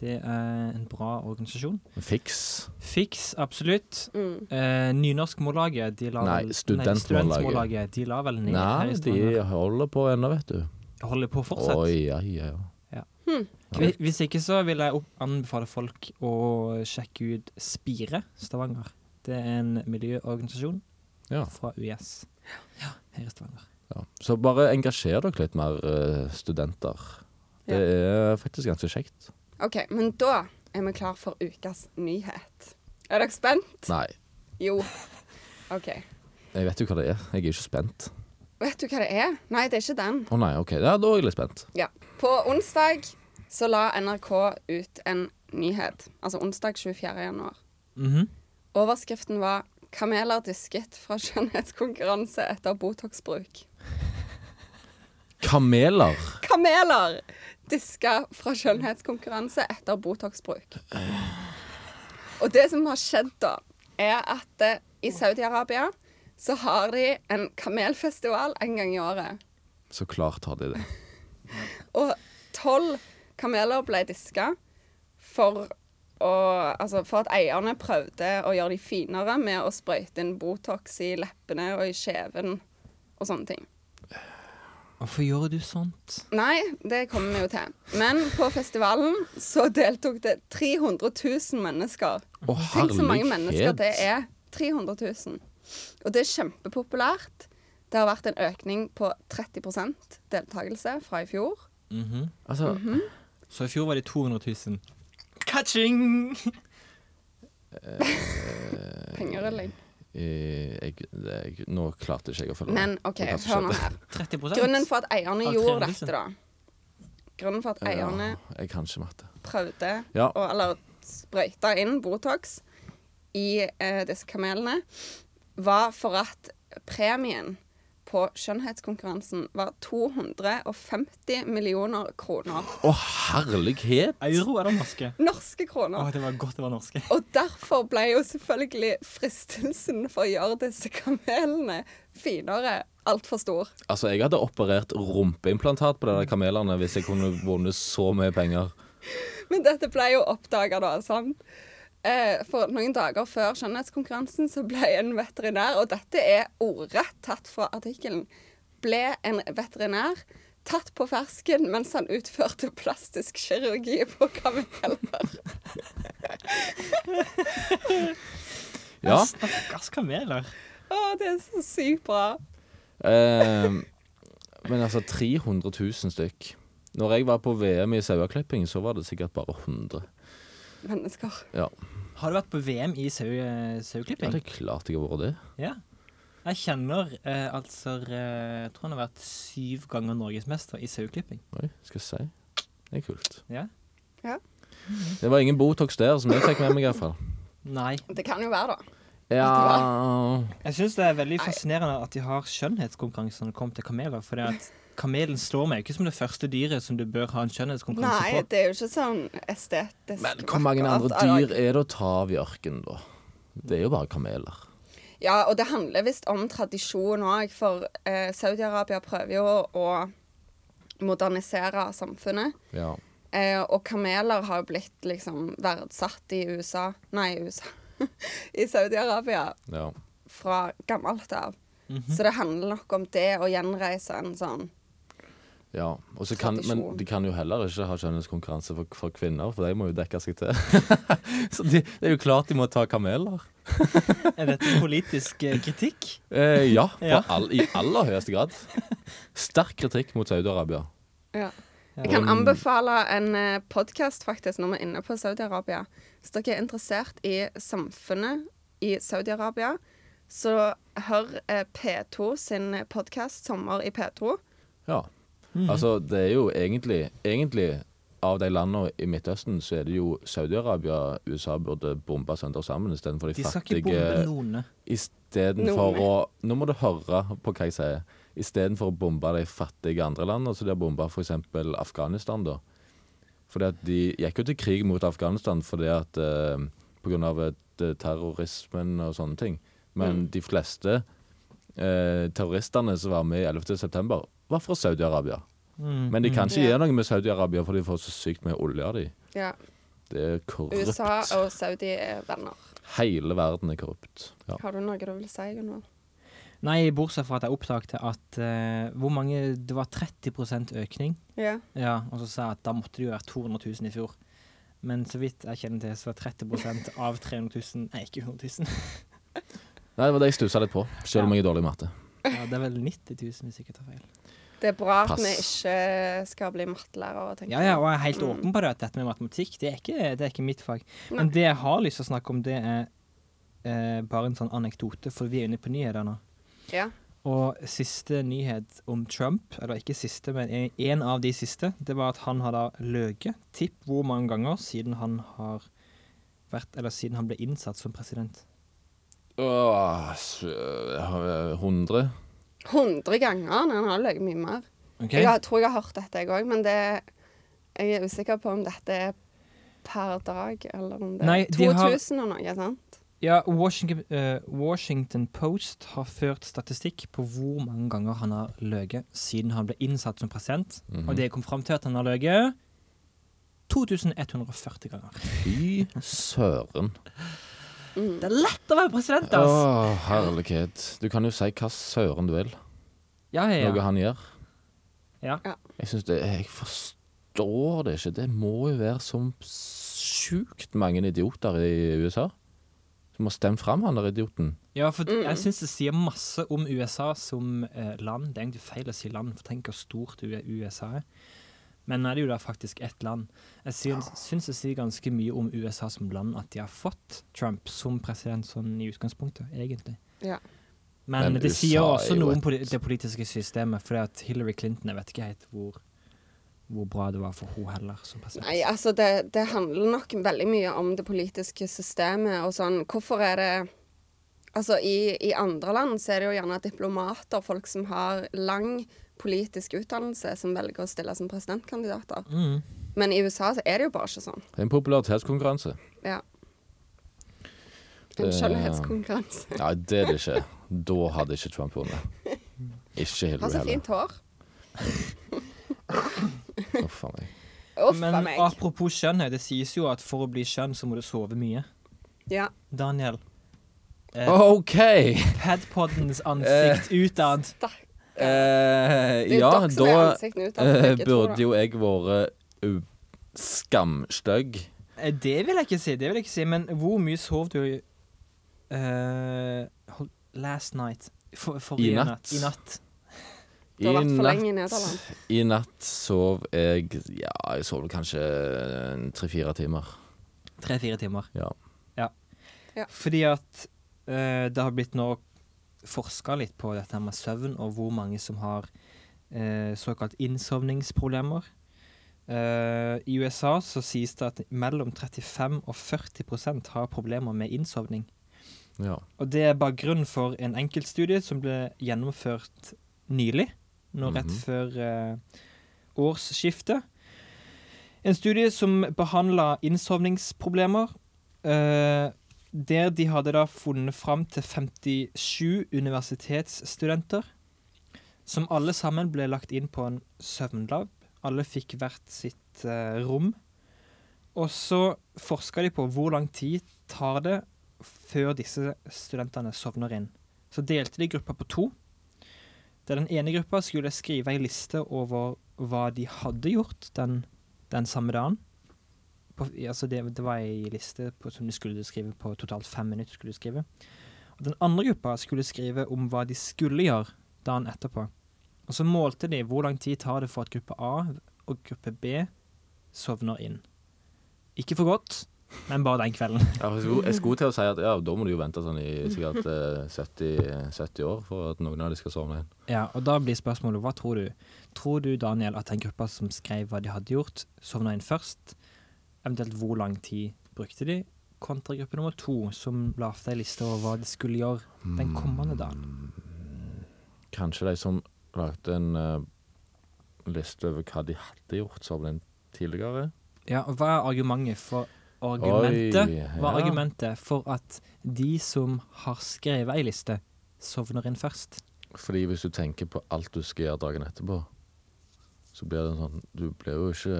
B: det er en bra organisasjon.
D: Fiks.
B: Fiks, absolutt.
A: Mm.
B: Eh, Nynorskmållaget de la
D: Nei,
B: vel-
D: Studentmållaget.
B: Studentmållaget, De la vel ned her
D: Nei,
B: i
D: de
B: Stavanger.
D: holder på ennå, vet du.
B: Holder på fortsatt.
D: Oi, ja, ja, ja.
B: Hvi- Hvis ikke så vil jeg opp- anbefale folk å sjekke ut Spire Stavanger. Det er en miljøorganisasjon
D: Ja.
B: fra US. Ja, her i Stavanger.
D: Ja. Så bare engasjer dere litt mer, eh, studenter. Det er faktisk ganske kjekt.
A: OK, men da er vi klar for ukas nyhet. Er dere spent?
D: Nei,
A: Jo. OK.
D: jeg vet jo hva det er. Jeg er ikke spent.
A: Vet du hva det er? Nei, det er ikke den.
D: Å nei, OK. Ja, da er jeg litt spent.
A: Ja. På onsdag så la NRK ut en nyhet. Altså onsdag 24. januar.
B: Mhm.
A: Overskriften var 'Kameler disket fra skjønnhetskonkurranse etter Botox-bruk'.
D: Kameler.
A: Kameler diska fra skjønnhetskonkurranse etter Botox-bruk. Og det som har skjedd da, er at eh, i Saudi-Arabia så har de en kamelfestival en gang i året.
D: Så klart har de det.
A: Og tolv kameler ble diska for, å, altså for at eierne prøvde å gjøre de finere med å sprøyte inn Botox i leppene og i kjeven og sånne ting.
B: Hvorfor gjør du sånt?
A: Nei, det kommer vi jo til. Men på festivalen så deltok det 300 000 mennesker.
D: Å,
A: Tenk så mange mennesker
D: herlighet.
A: det er. 300 000. Og det er kjempepopulært. Det har vært en økning på 30 deltakelse fra i fjor.
B: Mhm.
D: Altså,
B: Så i fjor var de 200 000. Catching!
A: Penger eller
D: eh, jeg, jeg, nå klarte ikke jeg å følge
A: Men OK,
D: Det kan ikke
A: hør nå
D: skje.
A: her.
B: 30
A: Grunnen for at eierne
B: Av
A: gjorde
B: 300 000.
A: dette, da Grunnen for at eierne
D: Ja, jeg kan ikke matte.
A: prøvde
D: Ja.
A: å Eller sprøyta inn Botox i eh, disse kamelene, var for at premien på skjønnhetskonkurransen var 250 millioner kroner.
D: Å, herlighet!
B: Euro eller norske?
A: Norske
B: Å,
A: kroner.
B: det var godt det var norske.
A: Og derfor ble jo selvfølgelig fristelsen for å gjøre disse kamelene finere altfor stor.
D: Altså, jeg hadde operert rumpeimplantat på de der kamelene hvis jeg kunne vunnet så mye penger.
A: Men dette ble jo oppdaga, da. sant? Eh, for noen dager før skjønnhetskonkurransen så ble en veterinær, og dette er ordrett tatt fra artikkelen, ble en veterinær tatt på fersken mens han utførte plastisk kirurgi på kameler.
D: Ja.
B: Stakkars kameler.
A: Å, det er så sykt bra.
D: Eh, men altså, 300 000 stykk. Når jeg var på VM i saueklipping, så var det sikkert bare 100.
A: Mennesker.
D: Ja,
B: Har du vært på VM i sau, eh,
D: ja
B: saueklipping?
D: det er klart jeg har vært det.
B: Ja. Jeg kjenner eh, altså eh, Jeg tror han har vært syv ganger norgesmester i saueklipping.
D: Oi, skal jeg si. Det er kult.
B: Ja.
A: Ja.
D: Det var ingen Botox der, som jeg fikk med meg i hvert fall.
B: Nei.
A: Det kan jo være, da.
D: Ja
B: Jeg syns det er veldig fascinerende at de har skjønnhetskonkurranse når det kommer til kameler. For det at kamelen slår meg ikke som det første dyret som du bør ha en skjønnhetskonkurranse
A: Nei,
B: på.
A: det er jo ikke sånn estetisk
D: Men hvor mange andre
A: vakkert.
D: dyr er det å ta av i ørkenen, da? Det er jo bare kameler.
A: Ja, og det handler visst om tradisjon òg, for eh, Saudi-Arabia prøver jo å modernisere samfunnet.
D: Ja.
A: Eh, og kameler har jo blitt liksom verdsatt i USA Nei, i USA. I Saudi-Arabia
D: ja.
A: fra gammelt av. Så det handler nok om det å gjenreise en sånn
D: ja. Og så kan, men
A: Tradisjon.
D: de kan jo heller ikke ha skjønnhetskonkurranse for, for kvinner, for de må jo dekke seg til. så de, det er jo klart de må ta kameler.
B: Er dette politisk eh, kritikk?
D: Eh, ja, på
B: Ja.
D: All, i aller høyeste grad. Sterk kritikk mot Saudi-Arabia.
A: Ja. Jeg
D: Um,
A: kan anbefale en podkast faktisk når vi er inne på Saudi-Arabia. Hvis dere er interessert i samfunnet i Saudi-Arabia, så hør eh, P2 sin podkast 'Sommer i P2'.
D: Ja.
B: Mhm.
D: Altså, det er jo egentlig Egentlig, av de landene i Midtøsten, så er det jo Saudi-Arabia USA burde bombe sønder sammen istedenfor de,
B: De skal ikke bombe
D: fattige.
B: noen.
D: Istedenfor å Nå må du høre på hva jeg sier. Istedenfor å bombe de fattige andre landene, så de har bomba f.eks. Afghanistan, da. Fordi at de gikk jo til krig mot Afghanistan fordi at eh,
A: Mm.
D: på grunn av eh, terrorismen og sånne ting. Men de fleste eh, terroristene som var med i 11. september, var fra Saudi-Arabia.
B: Mm,
D: Men de kan
B: mm.
D: ikke
A: Ja.
D: gjøre noe med Saudi-Arabia, for de får så sykt mye olje av de.
A: Ja.
D: Det er korrupt.
A: USA og Saudi er venner.
D: Hele verden er korrupt. Ja.
A: Har du noe du vil si, Gunvor?
B: Nei, bortsett fra at jeg oppdagte at eh, hvor mange Det var 30 økning.
A: Ja.
B: Ja, og så sa jeg at da måtte det jo være 200 000 i fjor. Men så vidt jeg kjenner til, så var 30 av 300 000 Nei, ikke 100 000.
D: Nei, det var det jeg stussa litt på, selv om
B: Ja.
D: jeg er dårlig i matte.
B: Ja, det er vel 90 000, hvis jeg ikke tar feil.
A: Det er bra
D: Pass.
A: at vi ikke skal bli mattelærere, tenker
B: Ja, ja, og jeg er helt
A: Mm.
B: åpen på det at dette med matematikk, det er ikke, det er ikke mitt fag.
A: Nei.
B: Men det jeg har lyst til å snakke om, det er eh, bare en sånn anekdote, for vi er inne på nyheter nå.
A: Ja.
B: Og siste nyhet om Trump, eller ikke siste, men en- en av de siste, det var at han har da løyet. Tipp hvor mange ganger siden han har vært, eller siden han ble innsatt som president.
D: Åh, s- øh, 100?
A: 100 ganger. Nei, han har løyet mye mer.
B: Ok?
A: Jeg har- tror jeg har hørt dette, jeg òg, men det Jeg er usikker på om dette er per dag, eller om det er
B: Nei, de har-
A: 2000 og noe, sant?
B: Ja, Washington, eh, Washington Post har ført statistikk på hvor mange ganger han har løyet siden han ble innsatt som president.
D: Mhm.
B: Og det kom fram til at han har løyet 2140 ganger.
D: Fy søren.
B: Det er lett å være president,
D: Å,
B: ass!
D: herlighet. Du kan jo si hva søren du vil,
B: Ja, ja,
D: noe
B: ja.
D: han gjør.
B: Ja.
A: Ja.
D: Jeg synes det Jeg forstår det ikke. Det må jo være så sjukt mange idioter i USA som har stemt fram han der idioten.
B: ja for
A: Mm.
B: jeg syns det sier masse om USA som eh, land. Det er egentlig feil å si land, for tenk hvor stort U- USA er. Men nå er det jo da faktisk ett land. Jeg syns, syns det sier ganske mye om USA som land at de har fått Trump som president sånn i utgangspunktet, egentlig.
A: Ja.
B: Men,
D: Men
B: det
D: USA
B: sier også
D: er jo
B: noe om
D: et-
B: poli det politiske systemet, fordi at Hillary Clinton Jeg vet ikke helt hvor, hvor bra det var for henne heller som president.
A: Nei, altså det, det handler nok veldig mye om det politiske systemet og sånn. Hvorfor er det Altså i, i andre land så er det jo gjerne diplomater, folk som har lang politisk utdannelse, som velger å stille som presidentkandidater.
B: Mm.
A: Men i USA så er det jo bare ikke sånn.
D: Det er en popularitetskonkurranse.
A: Ja. En
D: Det-
A: skjønnhetskonkurranse.
D: Nei, det er det ikke. Da hadde ikke Trump vunnet. Ikke
A: Har
D: Hillary
A: så
D: heller.
A: fint hår.
D: Uff a meg.
A: Uff a
B: Men
A: meg.
B: apropos skjønnhet, det sies jo at for å bli skjønn, så må du sove mye.
A: Ja.
B: Daniel. Eh,
C: OK!
B: Padpoddens ansikt utad.
A: Stakk.
C: Eh,
A: Det er jo
C: ja,
A: dere som er
C: da
A: ansiktene ut av
C: eh,
A: begge to, da.
C: burde jo jeg vært uh, skamstygg.
B: Eh, Det vil jeg ikke si, det vil jeg ikke si. Men hvor mye sov du i- eh, hold- last night? For, forrige
D: I
B: natt.
D: natt.
B: I natt.
A: Du har
D: I
A: vært for
D: natt-
A: lenge i Nederland.
D: I natt sov jeg Ja, jeg sov vel kanskje en tre-fire timer.
B: Tre-fire timer.
D: Ja.
B: Ja.
A: Ja.
B: Fordi at eh, det har blitt nå forska litt på dette her med søvn, og hvor mange som har eh, såkalt innsovningsproblemer. Eh, I USA så sies det at mellom 35 og 40 har problemer med innsovning.
D: Ja.
B: Og det er bakgrunn for en enkeltstudie som ble gjennomført nylig, nå rett
D: Mhm.
B: før eh, årsskiftet. En studie som behandla innsovningsproblemer, eh, der de hadde da funnet fram til 57 universitetsstudenter, som alle sammen ble lagt inn på en søvnlab. Alle fikk hvert sitt eh, rom. Og så forska de på hvor lang tid tar det før disse studentene sovner inn. Så delte de gruppa på to. Der den ene gruppa skulle skrive ei liste over hva de hadde gjort den, den samme dagen. På, altså det, det var ei liste på, som de skulle skrive på totalt fem minutter. skulle de skrive. Og den andre gruppa skulle skrive om hva de skulle gjøre dagen etterpå. Og så målte de hvor lang tid tar det for at gruppe A og gruppe B sovner inn. Ikke for godt, men bare den kvelden.
D: Jeg skulle, jeg skulle til å si at ja, da må du jo vente sånn i sikkert eh, 70, 70 år for at noen av de skal sovne inn.
B: Ja, og da blir spørsmålet, hva tror du? Tror du, Daniel, at den gruppa som skrev hva de hadde gjort, sovna inn først? Eventuelt hvor lang tid brukte de? Kontra gruppe nummer to, som lagde ei liste over hva de skulle gjøre den kommende dagen.
D: Mm, Kanskje de som lagde en eh, liste over hva de hadde gjort, sov inn tidligere?
B: Ja, og hva er argumentet for argumentet?
D: Oi,
B: Hva er
D: ja.
B: argumentet for at de som har skrevet ei liste, sovner inn først.
D: Fordi hvis du tenker på alt du skal gjøre dagen etterpå, så blir det en sånn Du blir jo ikke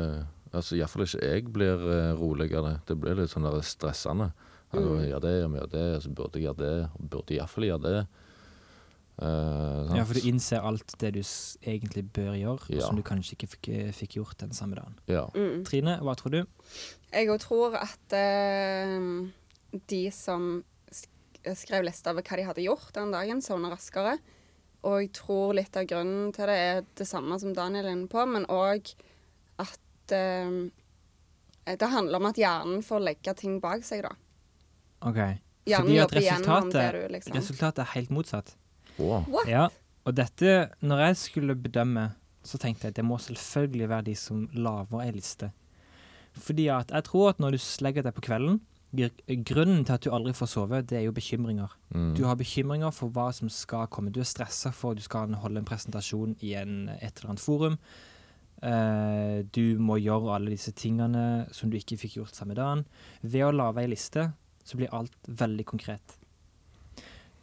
D: Altså iallfall ikke jeg blir eh, roligere. Det blir litt sånn der stressende. Ja, nå
B: Mm.
D: gjør jeg det, og gjør det, og så burde jeg gjøre det, og burde iallfall gjøre det. Eh, sant?
B: Ja, For du innser alt det du s egentlig bør gjøre, og
D: Ja.
B: som du kanskje ikke fikk, eh, fikk gjort den samme dagen.
D: Ja.
B: Trine, hva tror du?
A: Jeg òg tror at eh, de som sk- skrev liste over hva de hadde gjort den dagen, sovner raskere. Og jeg tror litt av grunnen til det er det samme som Daniel er inne på, men òg at eh, det handler om at hjernen får legge ting bak seg, da.
B: Ok.
A: Hjernen
B: Fordi at
A: jobber gjennom det
B: resultatet,
A: du liksom-
B: resultatet er helt motsatt.
D: Wow.
A: What?
B: Ja, og dette, når jeg skulle bedømme, så tenkte jeg at det må selvfølgelig være de som laver ei liste. Fordi at jeg tror at når du legger deg på kvelden, gr- grunnen til at du aldri får sove, det er jo bekymringer.
D: Mm.
B: Du har bekymringer for hva som skal komme. Du er stressa for at du skal holde en presentasjon i en, et eller annet forum. Eh, du må gjøre alle disse tingene som du ikke fikk gjort samme dagen. Ved å lage ei liste, så blir alt veldig konkret.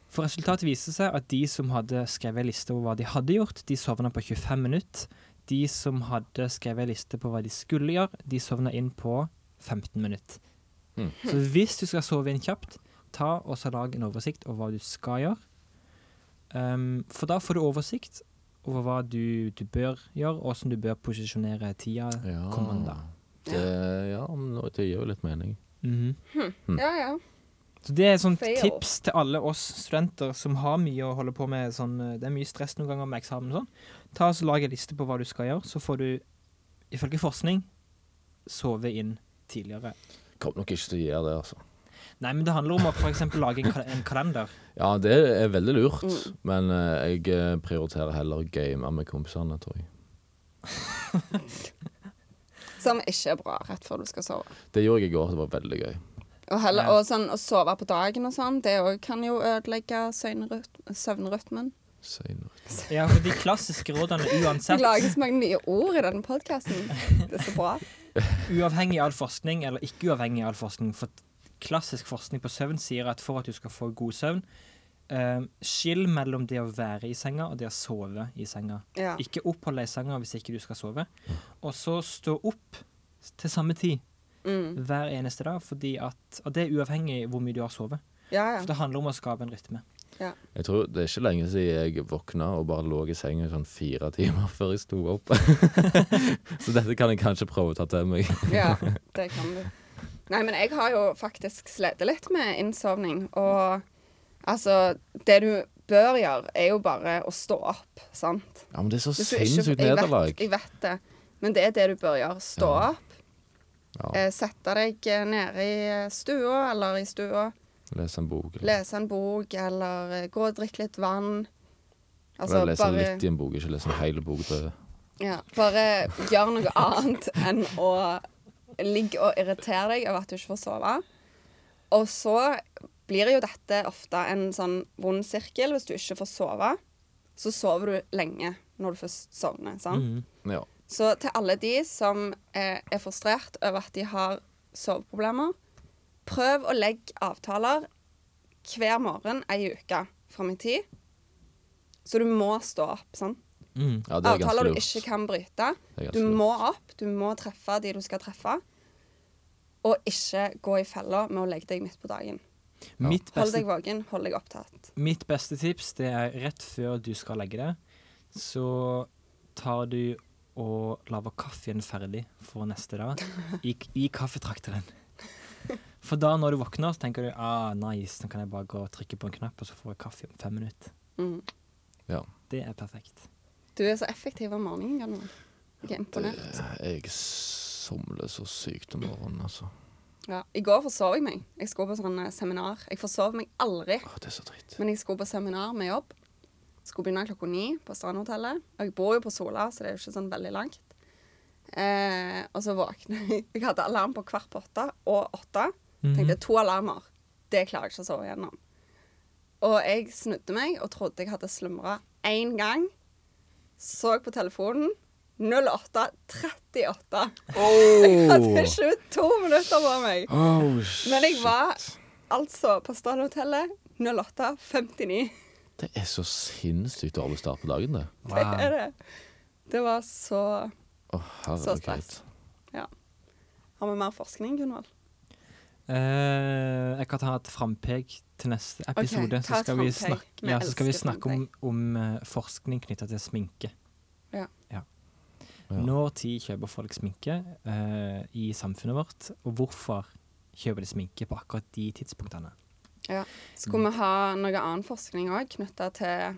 B: For resultatet viser seg at de som hadde skrevet ei liste over hva de hadde gjort, de sovna på 25 minutter. De som hadde skrevet ei liste på hva de skulle gjøre, de sovna inn på 15 minutter.
D: Mm.
B: Så hvis du skal sove inn kjapt, ta og så lag en oversikt over hva du skal gjøre. Ehm, for da får du oversikt over hva du, du bør gjøre, og hvordan du bør posisjonere tida
D: Ja.
B: kommende.
D: Det, ja, men det gir jo litt mening.
B: Mhm.
A: Ja, ja.
B: Så det er et sånt
A: Fail.
B: tips til alle oss studenter som har mye å holde på med. Sånn, det er mye stress noen ganger med eksamen og sånn. Ta og så Lag en liste på hva du skal gjøre, så får du ifølge forskning sove inn tidligere.
D: Kommer nok ikke til å gjøre det, altså.
B: Nei, men det handler om å f.eks. lage en, kal en kalender.
D: Ja, det er veldig lurt,
B: Mm.
D: men eh, jeg eh, prioriterer heller å game med kompisene, tror jeg.
A: Som ikke er bra rett før du skal sove.
D: Det gjorde jeg i går, det var veldig gøy.
A: Og, heller,
B: Ja.
A: og sånn, å sove på dagen og sånn, det òg kan jo ødelegge søgnryt- søvnrytmen.
D: Senere.
B: Ja, for de klassiske rådene
A: Det
B: uansett
A: lages mange nye ord i denne podkasten. Det er så bra.
B: Uavhengig av all forskning, eller ikke uavhengig av all forskning, for klassisk forskning på søvn sier at for at du skal få god søvn, eh, skill mellom det å være i senga og det å sove i senga.
A: Ja.
B: Ikke opphold deg i senga hvis ikke du skal sove. Og så stå opp til samme tid
A: Mm.
B: hver eneste dag, fordi at, og det er uavhengig hvor mye du har sovet.
A: Ja, ja.
B: For det handler om å skape en rytme.
D: Jeg tror Det er ikke lenge siden jeg våkna og bare lå i sengen i sånn fire timer før jeg sto opp. Så dette kan jeg kanskje prøve å ta til meg.
A: Ja, det kan du. Nei, men jeg har jo faktisk slitt litt med innsovning. Og altså Det du bør gjøre, er jo bare å stå opp, sant?
D: Ja, Men det er så
A: Hvis du ikke-
D: sinnssykt
A: jeg vet-
D: nederlag.
A: Jeg vet det. Men det er det du bør gjøre. Stå opp.
D: Ja.
A: Eh, sette deg eh, nede i eh, stua eller i stua.
D: Lese en bok. Eller,
A: Lese en bok eller eh, gå og drikke litt vann. Altså,
D: eller lese litt i en bok, ikke lese en hel bok. Det.
A: Ja, bare gjør noe annet enn å ligge og irritere deg over at du ikke får sove. Og så blir jo dette ofte en sånn vond sirkel. Hvis du ikke får sove, så sover du lenge når du først sovner. Sant?
D: Ja.
A: Så til alle de som eh, er frustrert over at de har soveproblemer, prøv å legge avtaler hver morgen ei uke fram i tid. Så du må stå opp. sant?
D: ja, det er ganske
A: Avtaler du
D: lurt.
A: ikke kan bryte.
D: Det er ganske
A: Du
D: lurt.
A: må opp, du må treffe de du skal treffe. Og ikke gå i fella med å legge deg midt på dagen.
B: Mitt
A: Hold
B: beste
A: deg våken, hold deg opptatt.
B: Mitt beste tips det er rett før du skal legge deg, så tar du og lager kaffen ferdig for neste dag i, i kaffetrakteren. For da når du våkner, så tenker du ah, nice, nå kan jeg bare gå og trykke på en knapp, og så får jeg kaffe om fem minutter.
A: Mm.
D: Ja.
B: Det er perfekt.
A: Du er så effektiv om morgenen, Gunnar. Jeg er imponert.
D: Jeg somler så sykt om morgenen, altså.
A: Ja. I går forsov jeg meg. Jeg skulle på sånn eh, seminar. Jeg forsov meg aldri,
D: Å, det er så dritt.
A: men jeg skulle på seminar med jobb. Skulle begynne klokka ni på Strandhotellet. Og jeg bor jo på Sola, så det er jo ikke sånn veldig langt. Eh, og så våkna jeg. Jeg hadde alarm på kvart på åtte og åtte. Tenkte to alarmer. Det klarer jeg ikke å sove gjennom. Og jeg snudde meg og trodde jeg hadde slumra én gang. Så på telefonen. 08.38. Jeg hadde 22 minutter på meg.
D: Oh,
A: Men jeg var altså på Strandhotellet 08.59.
D: Det er så sinnssykt dårlig start på dagen, det.
A: Det er det. Det var så
D: Å,
A: Så
D: herregud.
A: stress. Ja. Har vi mer forskning, Gunvald?
B: Eh, jeg kan ta et frampek til neste episode.
A: ta
B: så,
A: et
B: skal vi
A: frampek.
B: snakke,
A: Vi
B: ja, så skal vi
A: elsker
B: snakke om, om eh, forskning knytta til sminke.
A: Ja.
B: Når tid kjøper folk sminke eh, i samfunnet vårt, og hvorfor kjøper de sminke på akkurat de tidspunktene?
A: Ja. Skulle
B: Mm.
A: vi ha noe annen forskning òg, knytta til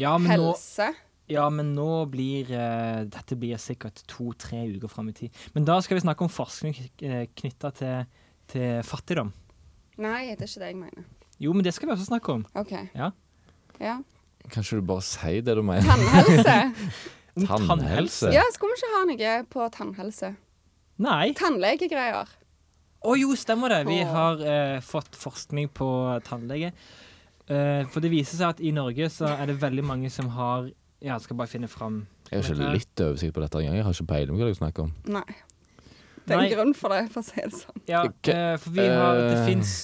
B: Ja, men nå,
A: helse?
B: ja, men nå blir eh, Dette blir sikkert to-tre uker fram i tid. Men da skal vi snakke om forskning knytta til, til fattigdom.
A: Nei, det er ikke det jeg mener.
B: Jo, men det skal vi også snakke om.
A: OK.
B: Ja.
A: Ja.
D: Kanskje du bare sier det du mener?
A: Tannhelse.
B: Om
D: Tannhelse?
A: Ja, skulle vi ikke ha noe på tannhelse?
B: Nei.
A: Tannlegegreier.
B: Å jo, stemmer det. Vi
A: Åh.
B: har eh, fått forskning på tannlege. Eh, for det viser seg at i Norge så er det veldig mange som har Ja, jeg skal bare finne fram
D: Jeg har ikke litt oversikt på dette engang. Jeg har ikke peiling på hva du snakker om.
A: Nei. Det er
B: Nei.
A: en grunn for det, for å si det sånn.
B: Ja,
D: Ok,
B: eh, for vi har Det
D: eh.
B: fins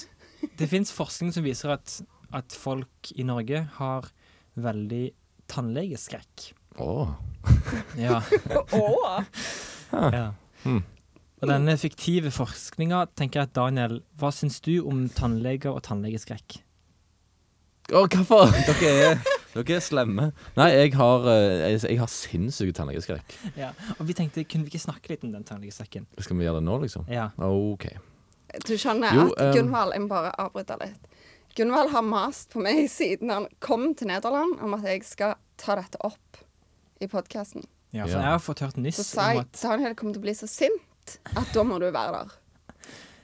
B: Det finnes forskning som viser at, at folk i Norge har veldig tannlegeskrekk.
D: Åh.
B: Ja.
A: Åh!
B: ja. Hmm. Og denne fiktive forskninga tenker jeg at Daniel, hva syns du om tannleger og tannlegeskrekk?
D: Å, hvorfor? Dere er, dere er slemme. Nei, jeg har, eh, jeg, jeg har sinnssyke tannlegeskrekk.
B: Ja. Og vi tenkte, kunne vi ikke snakke litt om den tannlegeskrekken?
D: Skal vi gjøre det nå, liksom?
B: Ja.
D: OK.
A: Du skjønner
D: Jo,
A: at
D: ehm.
A: Gunvald Jeg må bare avbryte litt. Gunvald har mast på meg siden han kom til Nederland om at jeg skal ta dette opp i podkasten.
B: Ja, for
D: Ja.
B: jeg har fått hørt nyss
A: Så sa
B: om
A: jeg
B: at
A: Daniel kommer til å bli så sint at da må du være der.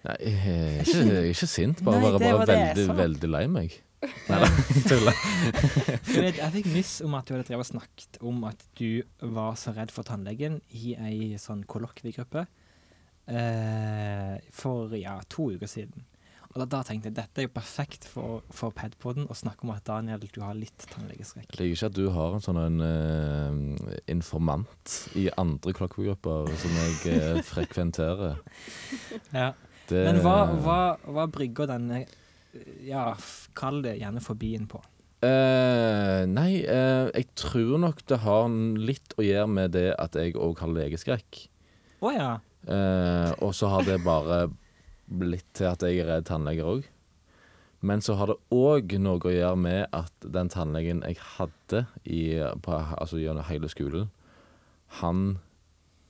D: Nei, jeg er ikke, jeg er ikke sint, bare,
B: Nei,
D: bare,
B: det var
D: bare
B: det
D: veldig,
B: jeg
D: veldig lei meg. Nei da, tuller.
B: Jeg, vet, jeg fikk nyss om at du hadde drevet og snakket om at du var så redd for tannlegen i ei sånn kollokviegruppe eh, for ja, to uker siden. Og da, da tenkte jeg dette er jo perfekt for, for padpoden å snakke om at Daniel, du har litt tannlegeskrekk.
D: Jeg liker ikke at du har en sånn en, eh, informant i andre klokkogrupper som jeg eh, frekventerer.
B: Ja.
D: Det,
B: Men hva, hva, hva brygger denne ja, f- kall det gjerne fobien på.
D: Eh, nei, eh, jeg tror nok det har n- litt å gjøre med det at jeg òg har legeskrekk.
B: Å ja.
D: Eh, og så har det bare blitt til at jeg er redd tannleger òg. Men så har det òg noe å gjøre med at den tannlegen jeg hadde i, på, altså gjennom hele skolen, han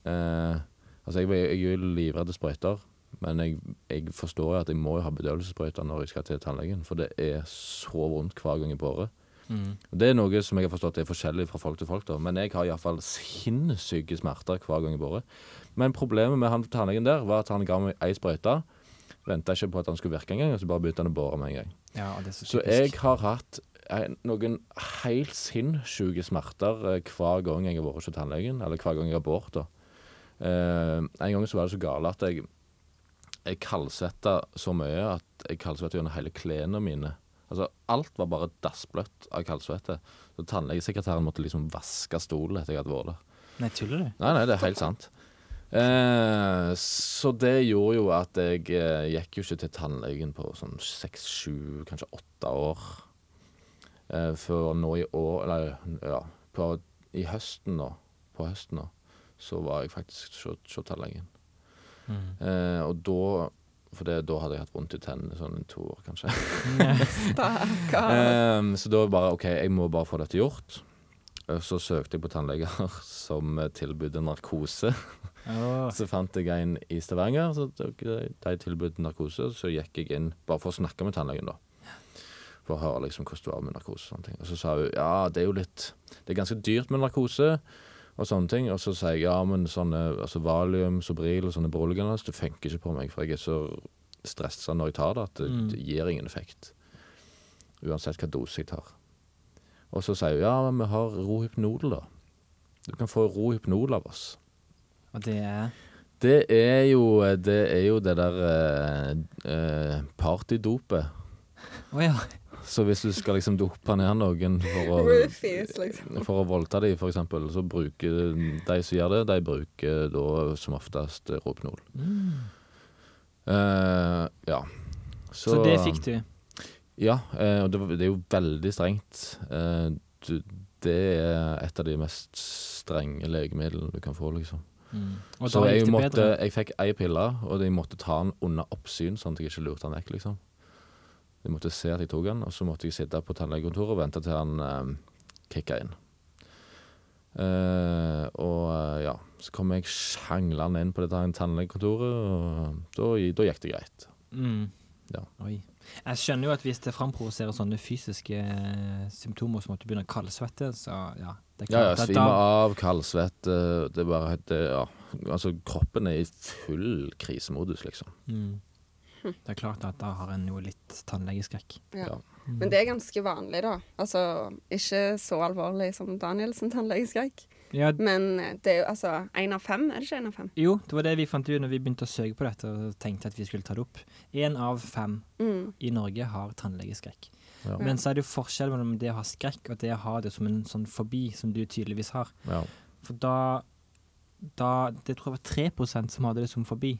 D: eh, Altså, jeg, var- jeg er jo livredd sprøyter, men jeg, jeg forstår jo at jeg må jo ha bedøvelsessprøyter når jeg skal til tannlegen, for det er så vondt hver gang i båret. Og Det er noe som jeg har forstått er forskjellig fra folk til folk, da. men jeg har iallfall sinnssyke smerter hver gang i båret. Men problemet med han tannlegen der var at han ga meg ei sprøyte. Venta ikke på at han skulle virke engang, og så bare begynte han å bore med en gang.
B: ja og det er så
D: Så
B: typisk.
D: jeg har hatt eh, noen helt sinnssyke smerter eh, hver gang jeg har vært hos tannlegen, eller hver gang jeg har båret. da. Eh, en gang så var det så gale at jeg, jeg kaldsvetta så mye at jeg kaldsvetta gjennom hele klærne mine. Altså, Alt var bare dassbløtt av kaldsvette. Så Tannlegesekretæren måtte liksom vaske stolen etter jeg hadde vært der.
B: Nei, tuller du?
D: Nei, nei, det er helt sant. Eh, så det gjorde jo at jeg eh, gikk jo ikke til tannlegen på sånn seks, sju, kanskje åtte år. Eh, før nå i år Eller ja, på, i høsten nå. På høsten nå. Så var jeg faktisk hos tannlegen. Eh, og da For det, da hadde jeg hatt vondt i tennene sånn i to år, kanskje.
A: Stakkar.
D: Ehm, så da bare OK, jeg må bare få dette gjort. Eh, Så søkte jeg på tannleger som eh, tilbød narkose.
B: Åh.
D: Så fant jeg en i Stavanger, så de de tilbød narkose. Så gikk jeg inn bare for å snakke med tannlegen, da. For å høre liksom hvordan det var med narkose og sånne ting. Og så sa hun ja, det er jo litt Det er ganske dyrt med narkose og sånne ting. Og så sier jeg ja, men sånne altså valium, Sobril og sånne beroligende det funker ikke på meg, for jeg er så stressa når jeg tar det, at det, det gir ingen effekt. Uansett hva dose jeg tar. Og så sier hun ja, men vi har rohypnol, da. Du kan få rohypnol av oss.
B: Og det er
D: Det er jo det, er jo det der eh, eh, partydopet.
B: Å ja.
D: Så hvis du skal liksom dope ned noen for å,
A: Roofies, liksom.
D: for å voldta dem, f.eks., så bruker de som gjør det, de bruker da som oftest Rohypnol. Mm. Eh, ja.
B: Så det fikk du?
D: Ja, eh, og det, var- det er jo veldig strengt. Eh, du, det er et av de mest strenge legemidlene du kan få, liksom.
B: Mm. Og
D: så
B: da
D: jeg,
B: gikk det
D: måtte,
B: bedre.
D: jeg fikk ei pille, og jeg måtte ta den under oppsyn, sånn at jeg ikke lurte den vekk, liksom. Jeg måtte se at jeg tok den, og så måtte jeg sitte på tannlegekontoret og vente til han eh, kicka inn. Eh, og eh, ja, så kom jeg sjanglende inn på dette her tannlegekontoret, og da, da gikk det greit.
B: Mm.
D: Ja.
B: Oi. Jeg skjønner jo at hvis det framprovoserer sånne fysiske eh, symptomer som at du begynner å kaldsvette, så ja. Det er
D: Ja, ja,
B: klart at
D: svime av, kaldsvette Det er bare det, Ja. Altså, kroppen er i full krisemodus, liksom.
B: Mm. Det er klart at da har en jo litt tannlegeskrekk.
A: Ja.
D: Ja.
A: Men det er ganske vanlig, da. Altså, ikke så alvorlig som Daniel sin tannlegeskrekk.
B: Ja,
A: Men det er jo altså én av fem, er det ikke én av fem?
B: jo, det var det vi fant ut når vi begynte å søke på dette og tenkte at vi skulle ta det opp. Én av fem
A: Mm.
B: i Norge har tannlegeskrekk.
D: Ja.
B: Men så er det jo forskjell mellom det å ha skrekk og det å ha det som en sånn fobi, som du tydeligvis har.
D: ja.
B: For da, da Det tror jeg var 3 som hadde det som fobi.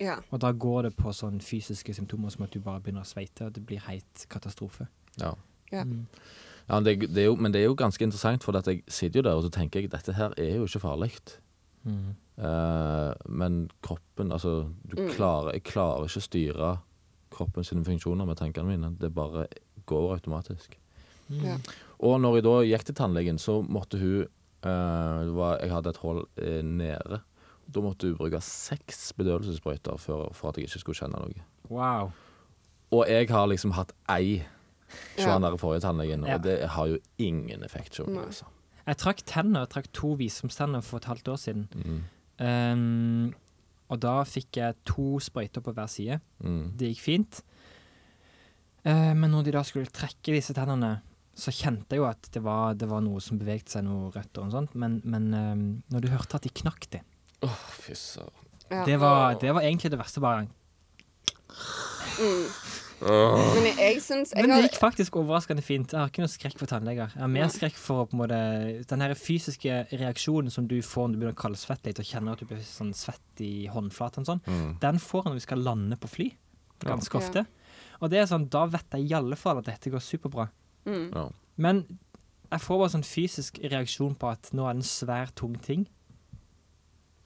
A: Ja.
B: Og da går det på sånn fysiske symptomer som at du bare begynner å sveite, og det blir heit katastrofe.
D: ja.
A: Ja.
D: ja det, det er jo, men det er jo ganske interessant, for at jeg sitter jo der og så tenker jeg, dette her er jo ikke farlig. Eh, men kroppen Altså, du klarer, jeg klarer ikke å styre kroppen sine funksjoner med tankene mine. Det bare går automatisk.
A: Ja.
D: Og når jeg da gikk til tannlegen, så måtte hun eh, det var, Jeg hadde et hull eh, nede. Da måtte hun bruke seks bedøvelsessprøyter for, for at jeg ikke skulle kjenne noe.
B: Wow.
D: Og jeg har liksom hatt ei hos
A: Ja.
D: han der forrige tannlegen,
B: Ja.
D: og det har jo ingen effekt. Sjå,
A: Nei.
D: altså.
B: Jeg trakk tenner, jeg trakk to visdomstenner for et halvt år siden.
D: Mm.
B: Um, og da fikk jeg to sprøyter på hver side.
D: mm.
B: Det gikk fint. Eh, men når de da skulle trekke disse tennene, så kjente jeg jo at det var, det var noe som bevegde seg, noe rødt og noe sånt, men, men um, når du hørte at de knakk det
D: Åh, fy søren.
A: Ja.
B: det var, det var egentlig det verste. bare
A: Mm. Men jeg, jeg syns jeg
B: Men det
A: har-
B: gikk faktisk overraskende fint. Jeg har ikke noe skrekk for tannleger. Jeg har mer skrekk for på en måte, den her fysiske reaksjonen som du får når du begynner å kaldsvette litt og kjenner at du blir sånn svett i håndflaten. og Sånn.
D: Mm.
B: Den får en når vi skal lande på fly, ganske
A: Ja.
B: ofte. Og det er sånn, da vet jeg i alle fall at dette går superbra.
A: Mm.
D: Ja.
B: Men jeg får bare sånn fysisk reaksjon på at nå er det en svær, tung ting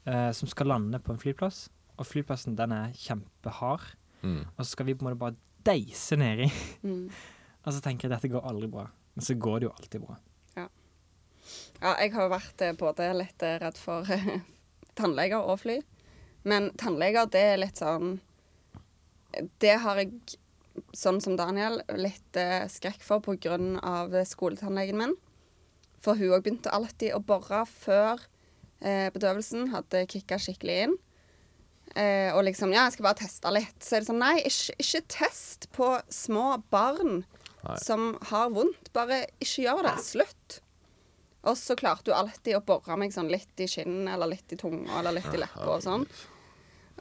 B: eh, som skal lande på en flyplass. Og flyplassen den er kjempehard,
D: Mm.
B: og så skal vi på en måte bare deise nedi.
A: Mm.
B: Og så tenker jeg dette går aldri bra. Men så går det jo alltid bra.
A: Ja, jeg har vært eh, både litt eh, redd for eh, tannleger og fly. Men tannleger, det er litt sånn Det har jeg, sånn som Daniel, litt eh, skrekk for på grunn av skoletannlegen min. For hun òg begynte alltid å bore før eh, bedøvelsen hadde kicka skikkelig inn. Eh, og liksom Ja, jeg skal bare teste litt. Så er det sånn Nei, ikke, ikke test på små barn
D: Nei.
A: som har vondt. Bare ikke gjør det. Slutt. Og så klarte hun alltid å bore meg sånn litt i kinnen eller litt i tunga eller litt i leppa og sånn.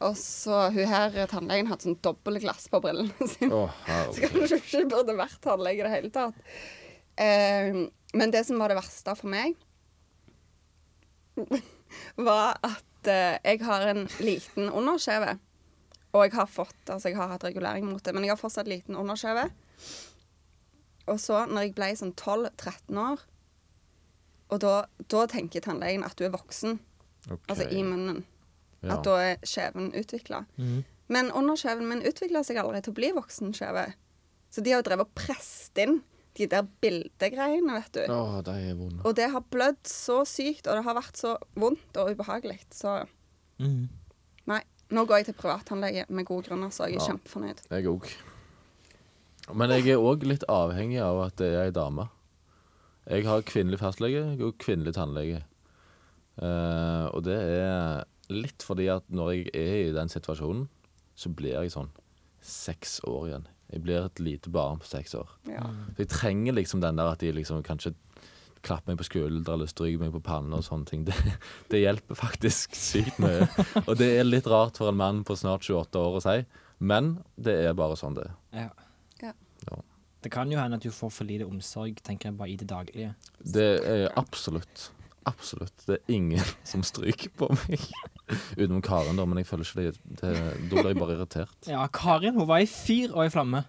A: Og så hun her tannlegen hadde sånn dobbelt glass på brillene sine.
D: Åh, herregud.
A: Så kanskje hun ikke burde vært tannlege i det hele tatt. Eh, men det som var det verste for meg, var at eh, jeg har en liten underskjeve. Og jeg har fått, altså jeg har hatt regulering mot det, men jeg har fortsatt liten underskjeve. Og så, når jeg ble sånn 12-13 år, og da, da tenker tannlegen at du er voksen,
D: Ok.
A: altså i munnen.
D: Ja.
A: At da er skjeven utvikla.
B: Mm.
A: Men underskjeven min utvikla seg aldri til å bli voksenskjeve. Så de har jo drevet og presset inn de der bildegreiene, vet du.
D: Åh, de er vonde.
A: Og det har blødd så sykt, og det har vært så vondt og ubehagelig. Så nei. Nå går jeg til privattannlege med gode grunner, så jeg er
D: Ja.
A: kjempefornøyd.
D: Jeg òg. Men jeg er òg litt avhengig av at det er ei dame. Jeg har kvinnelig fastlege og kvinnelig tannlege. Eh, og det er litt fordi at når jeg er i den situasjonen, så blir jeg sånn seks år igjen. Jeg blir et lite barn på seks år.
A: Ja.
B: Mm.
D: Så jeg trenger liksom den der at de liksom kanskje klapper meg på skuldra eller stryker meg på pannen og sånne ting. Det, det hjelper faktisk sykt mye. Og det er litt rart for en mann på snart 28 år å si, men det er bare sånn det er.
B: Ja.
A: Ja.
D: Ja.
B: Det kan jo hende at du får for lite omsorg, tenker jeg, bare i det daglige.
D: Det er absolutt Absolutt. Det er ingen som stryker på meg. Utenom Karen, da, men jeg føler ikke det, det Da blir jeg bare irritert.
B: Ja, Karin hun var i fyr og i flamme.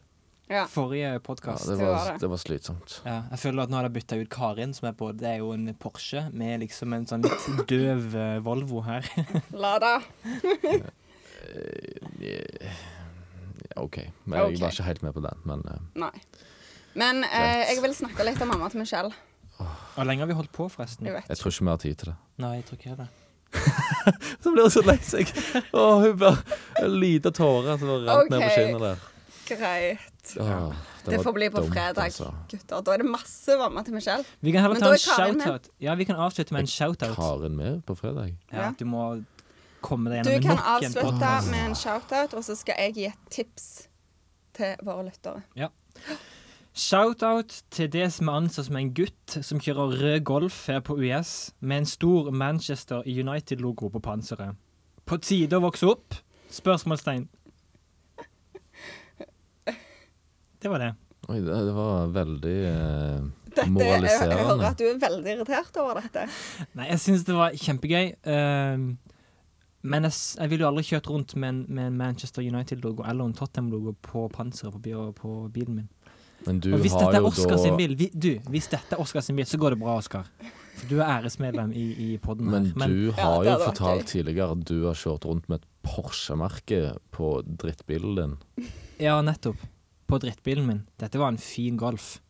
A: Ja.
B: Forrige podkast.
D: Ja, det, var, det var slitsomt.
B: Ja, jeg føler at nå har de bytta ut Karin, som er på Det er jo en Porsche, med liksom en sånn litt døv eh, Volvo her.
A: Lada.
D: Eh, Ja, OK. Men jeg
A: Ok.
D: var ikke helt med på den, men eh,
A: Nei. Men eh, jeg vil snakke litt om mamma til Michelle.
B: Hvor lenge har vi holdt på, forresten?
A: Jeg vet.
D: jeg tror ikke vi har tid til det.
B: Nei, jeg tror ikke det.
D: Så ble hun så lei seg. Å, hun bare En liten tåre som rant ned på
A: Ok.
D: kinnet der. Ah,
A: Greit.
D: Åh,
A: Det
D: var
A: får bli på
D: dumt,
A: fredag,
D: altså.
A: gutter. Da er det masse mamma til Michelle.
B: Vi kan heller
A: Men
B: ta
A: da
B: en
A: er Karin med.
B: shoutout. Ja, vi kan avslutte med en shoutout.
D: Karen med på fredag?
B: Ja, du må komme deg
A: Du
B: gjennom
A: kan
B: nok en
A: avslutte
B: podcast.
A: med en shoutout, og så skal jeg gi et tips til våre lyttere.
B: Shoutout til det som er ansett som en gutt som kjører rød golf her på US med en stor Manchester United-logo på panseret. På tide å vokse opp? Spørsmålstegn. Det var det.
D: Oi, det, det var veldig eh,
A: Dette, jeg, jeg hører
D: moraliserende.
A: at du er veldig irritert over dette.
B: Nei, jeg syns det var kjempegøy. ehm, men jeg, s- jeg ville jo aldri kjørt rundt med en, med en Manchester United-logo eller en Tottenham-logo på panseret på, bi- på bilen min.
D: Men du
B: Og hvis
D: har
B: dette er
D: jo
B: Oscar sin
D: da
B: bil, vi, du, hvis dette er Oscar sin bil, så går det bra, Oscar. For du er æresmedlem i, i podden her.
D: Men du har
A: det
D: jo
A: hadde vært
D: fortalt
A: gøy.
D: tidligere at du har kjørt rundt med et Porsche-merke på drittbilen din.
B: Ja, nettopp. På drittbilen min. Dette var en fin Golf.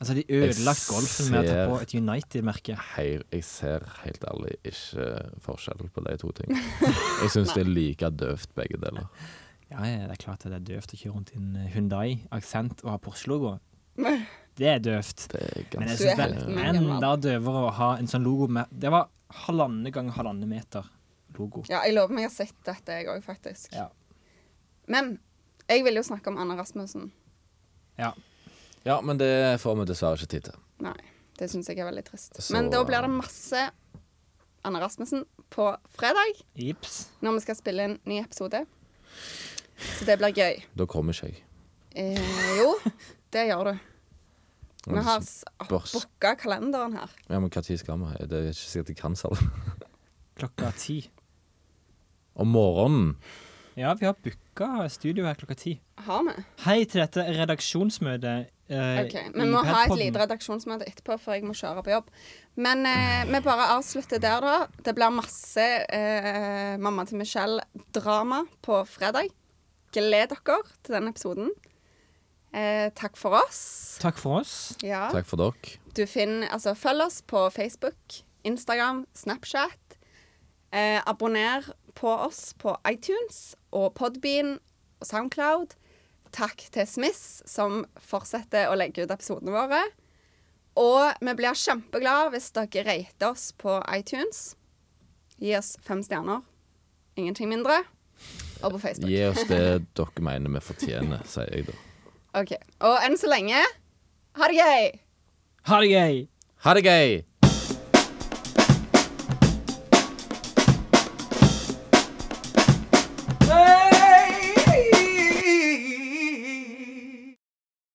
B: Altså, de
D: Jeg
B: ødelagt Golfen med å ta
D: ser-
B: på et United-merke.
D: Hei, jeg ser helt ærlig ikke forskjell på de to tingene. Jeg syns det er like døvt, begge deler.
B: Ja, ja, det er klart at det er døvt å kjøre rundt i en Hundai-aksent og ha Porsche-logo. Det er døvt.
D: Det er
A: Du er
B: Men jeg
D: ganske
B: syns det
A: helt
B: er
A: megamann.
B: enda døvere å ha en sånn logo med Det var halvannen gang halvannen meter logo.
A: Ja, jeg lover meg å ha sett dette, jeg òg, faktisk.
B: Ja.
A: Men jeg ville jo snakke om Anna Rasmussen.
D: Ja, men det får vi dessverre ikke tid til.
A: Nei, det syns jeg er veldig trist.
D: Så,
A: Men da blir det
D: eh,
A: masse Anna Rasmussen på fredag,
B: Jips.
A: når vi skal spille en ny episode. Så det blir gøy.
D: Da kommer ikke jeg.
A: Eh, jo, det gjør du. Vi har s-
D: Børs.
A: booka kalenderen her.
D: Ja, men når skal vi? Det er ikke sikkert jeg kan selv.
B: Klokka ti.
D: Om morgenen
B: Ja, vi har booka studio her klokka ti.
A: Har vi?
B: Hei til dette redaksjonsmøtet. eh,
A: Ok,
B: i
A: Vi må ha et
B: Padpodden.
A: lite redaksjonsmøte etterpå, for jeg må kjøre på jobb. Men eh, vi bare avslutter der, da. Det blir masse eh, mamma til Michelle-drama på fredag. Gled dere til den episoden. Eh, takk for oss.
B: Takk for oss.
A: Ja.
D: Takk for dere.
A: Du finner, altså, følg oss på Facebook, Instagram, Snapchat. Eh, abonner på oss på iTunes og Podbean og Soundcloud. Takk til Smiss, som fortsetter å legge ut episodene våre. Og vi blir kjempeglade hvis dere rater oss på iTunes. Gi oss fem stjerner. Ingenting mindre. Og på Facebook.
D: Gi oss det dere mener vi fortjener, sier jeg da.
A: Ok. Og enn så lenge, ha det gøy!
B: Ha det gøy!
D: Ha det gøy!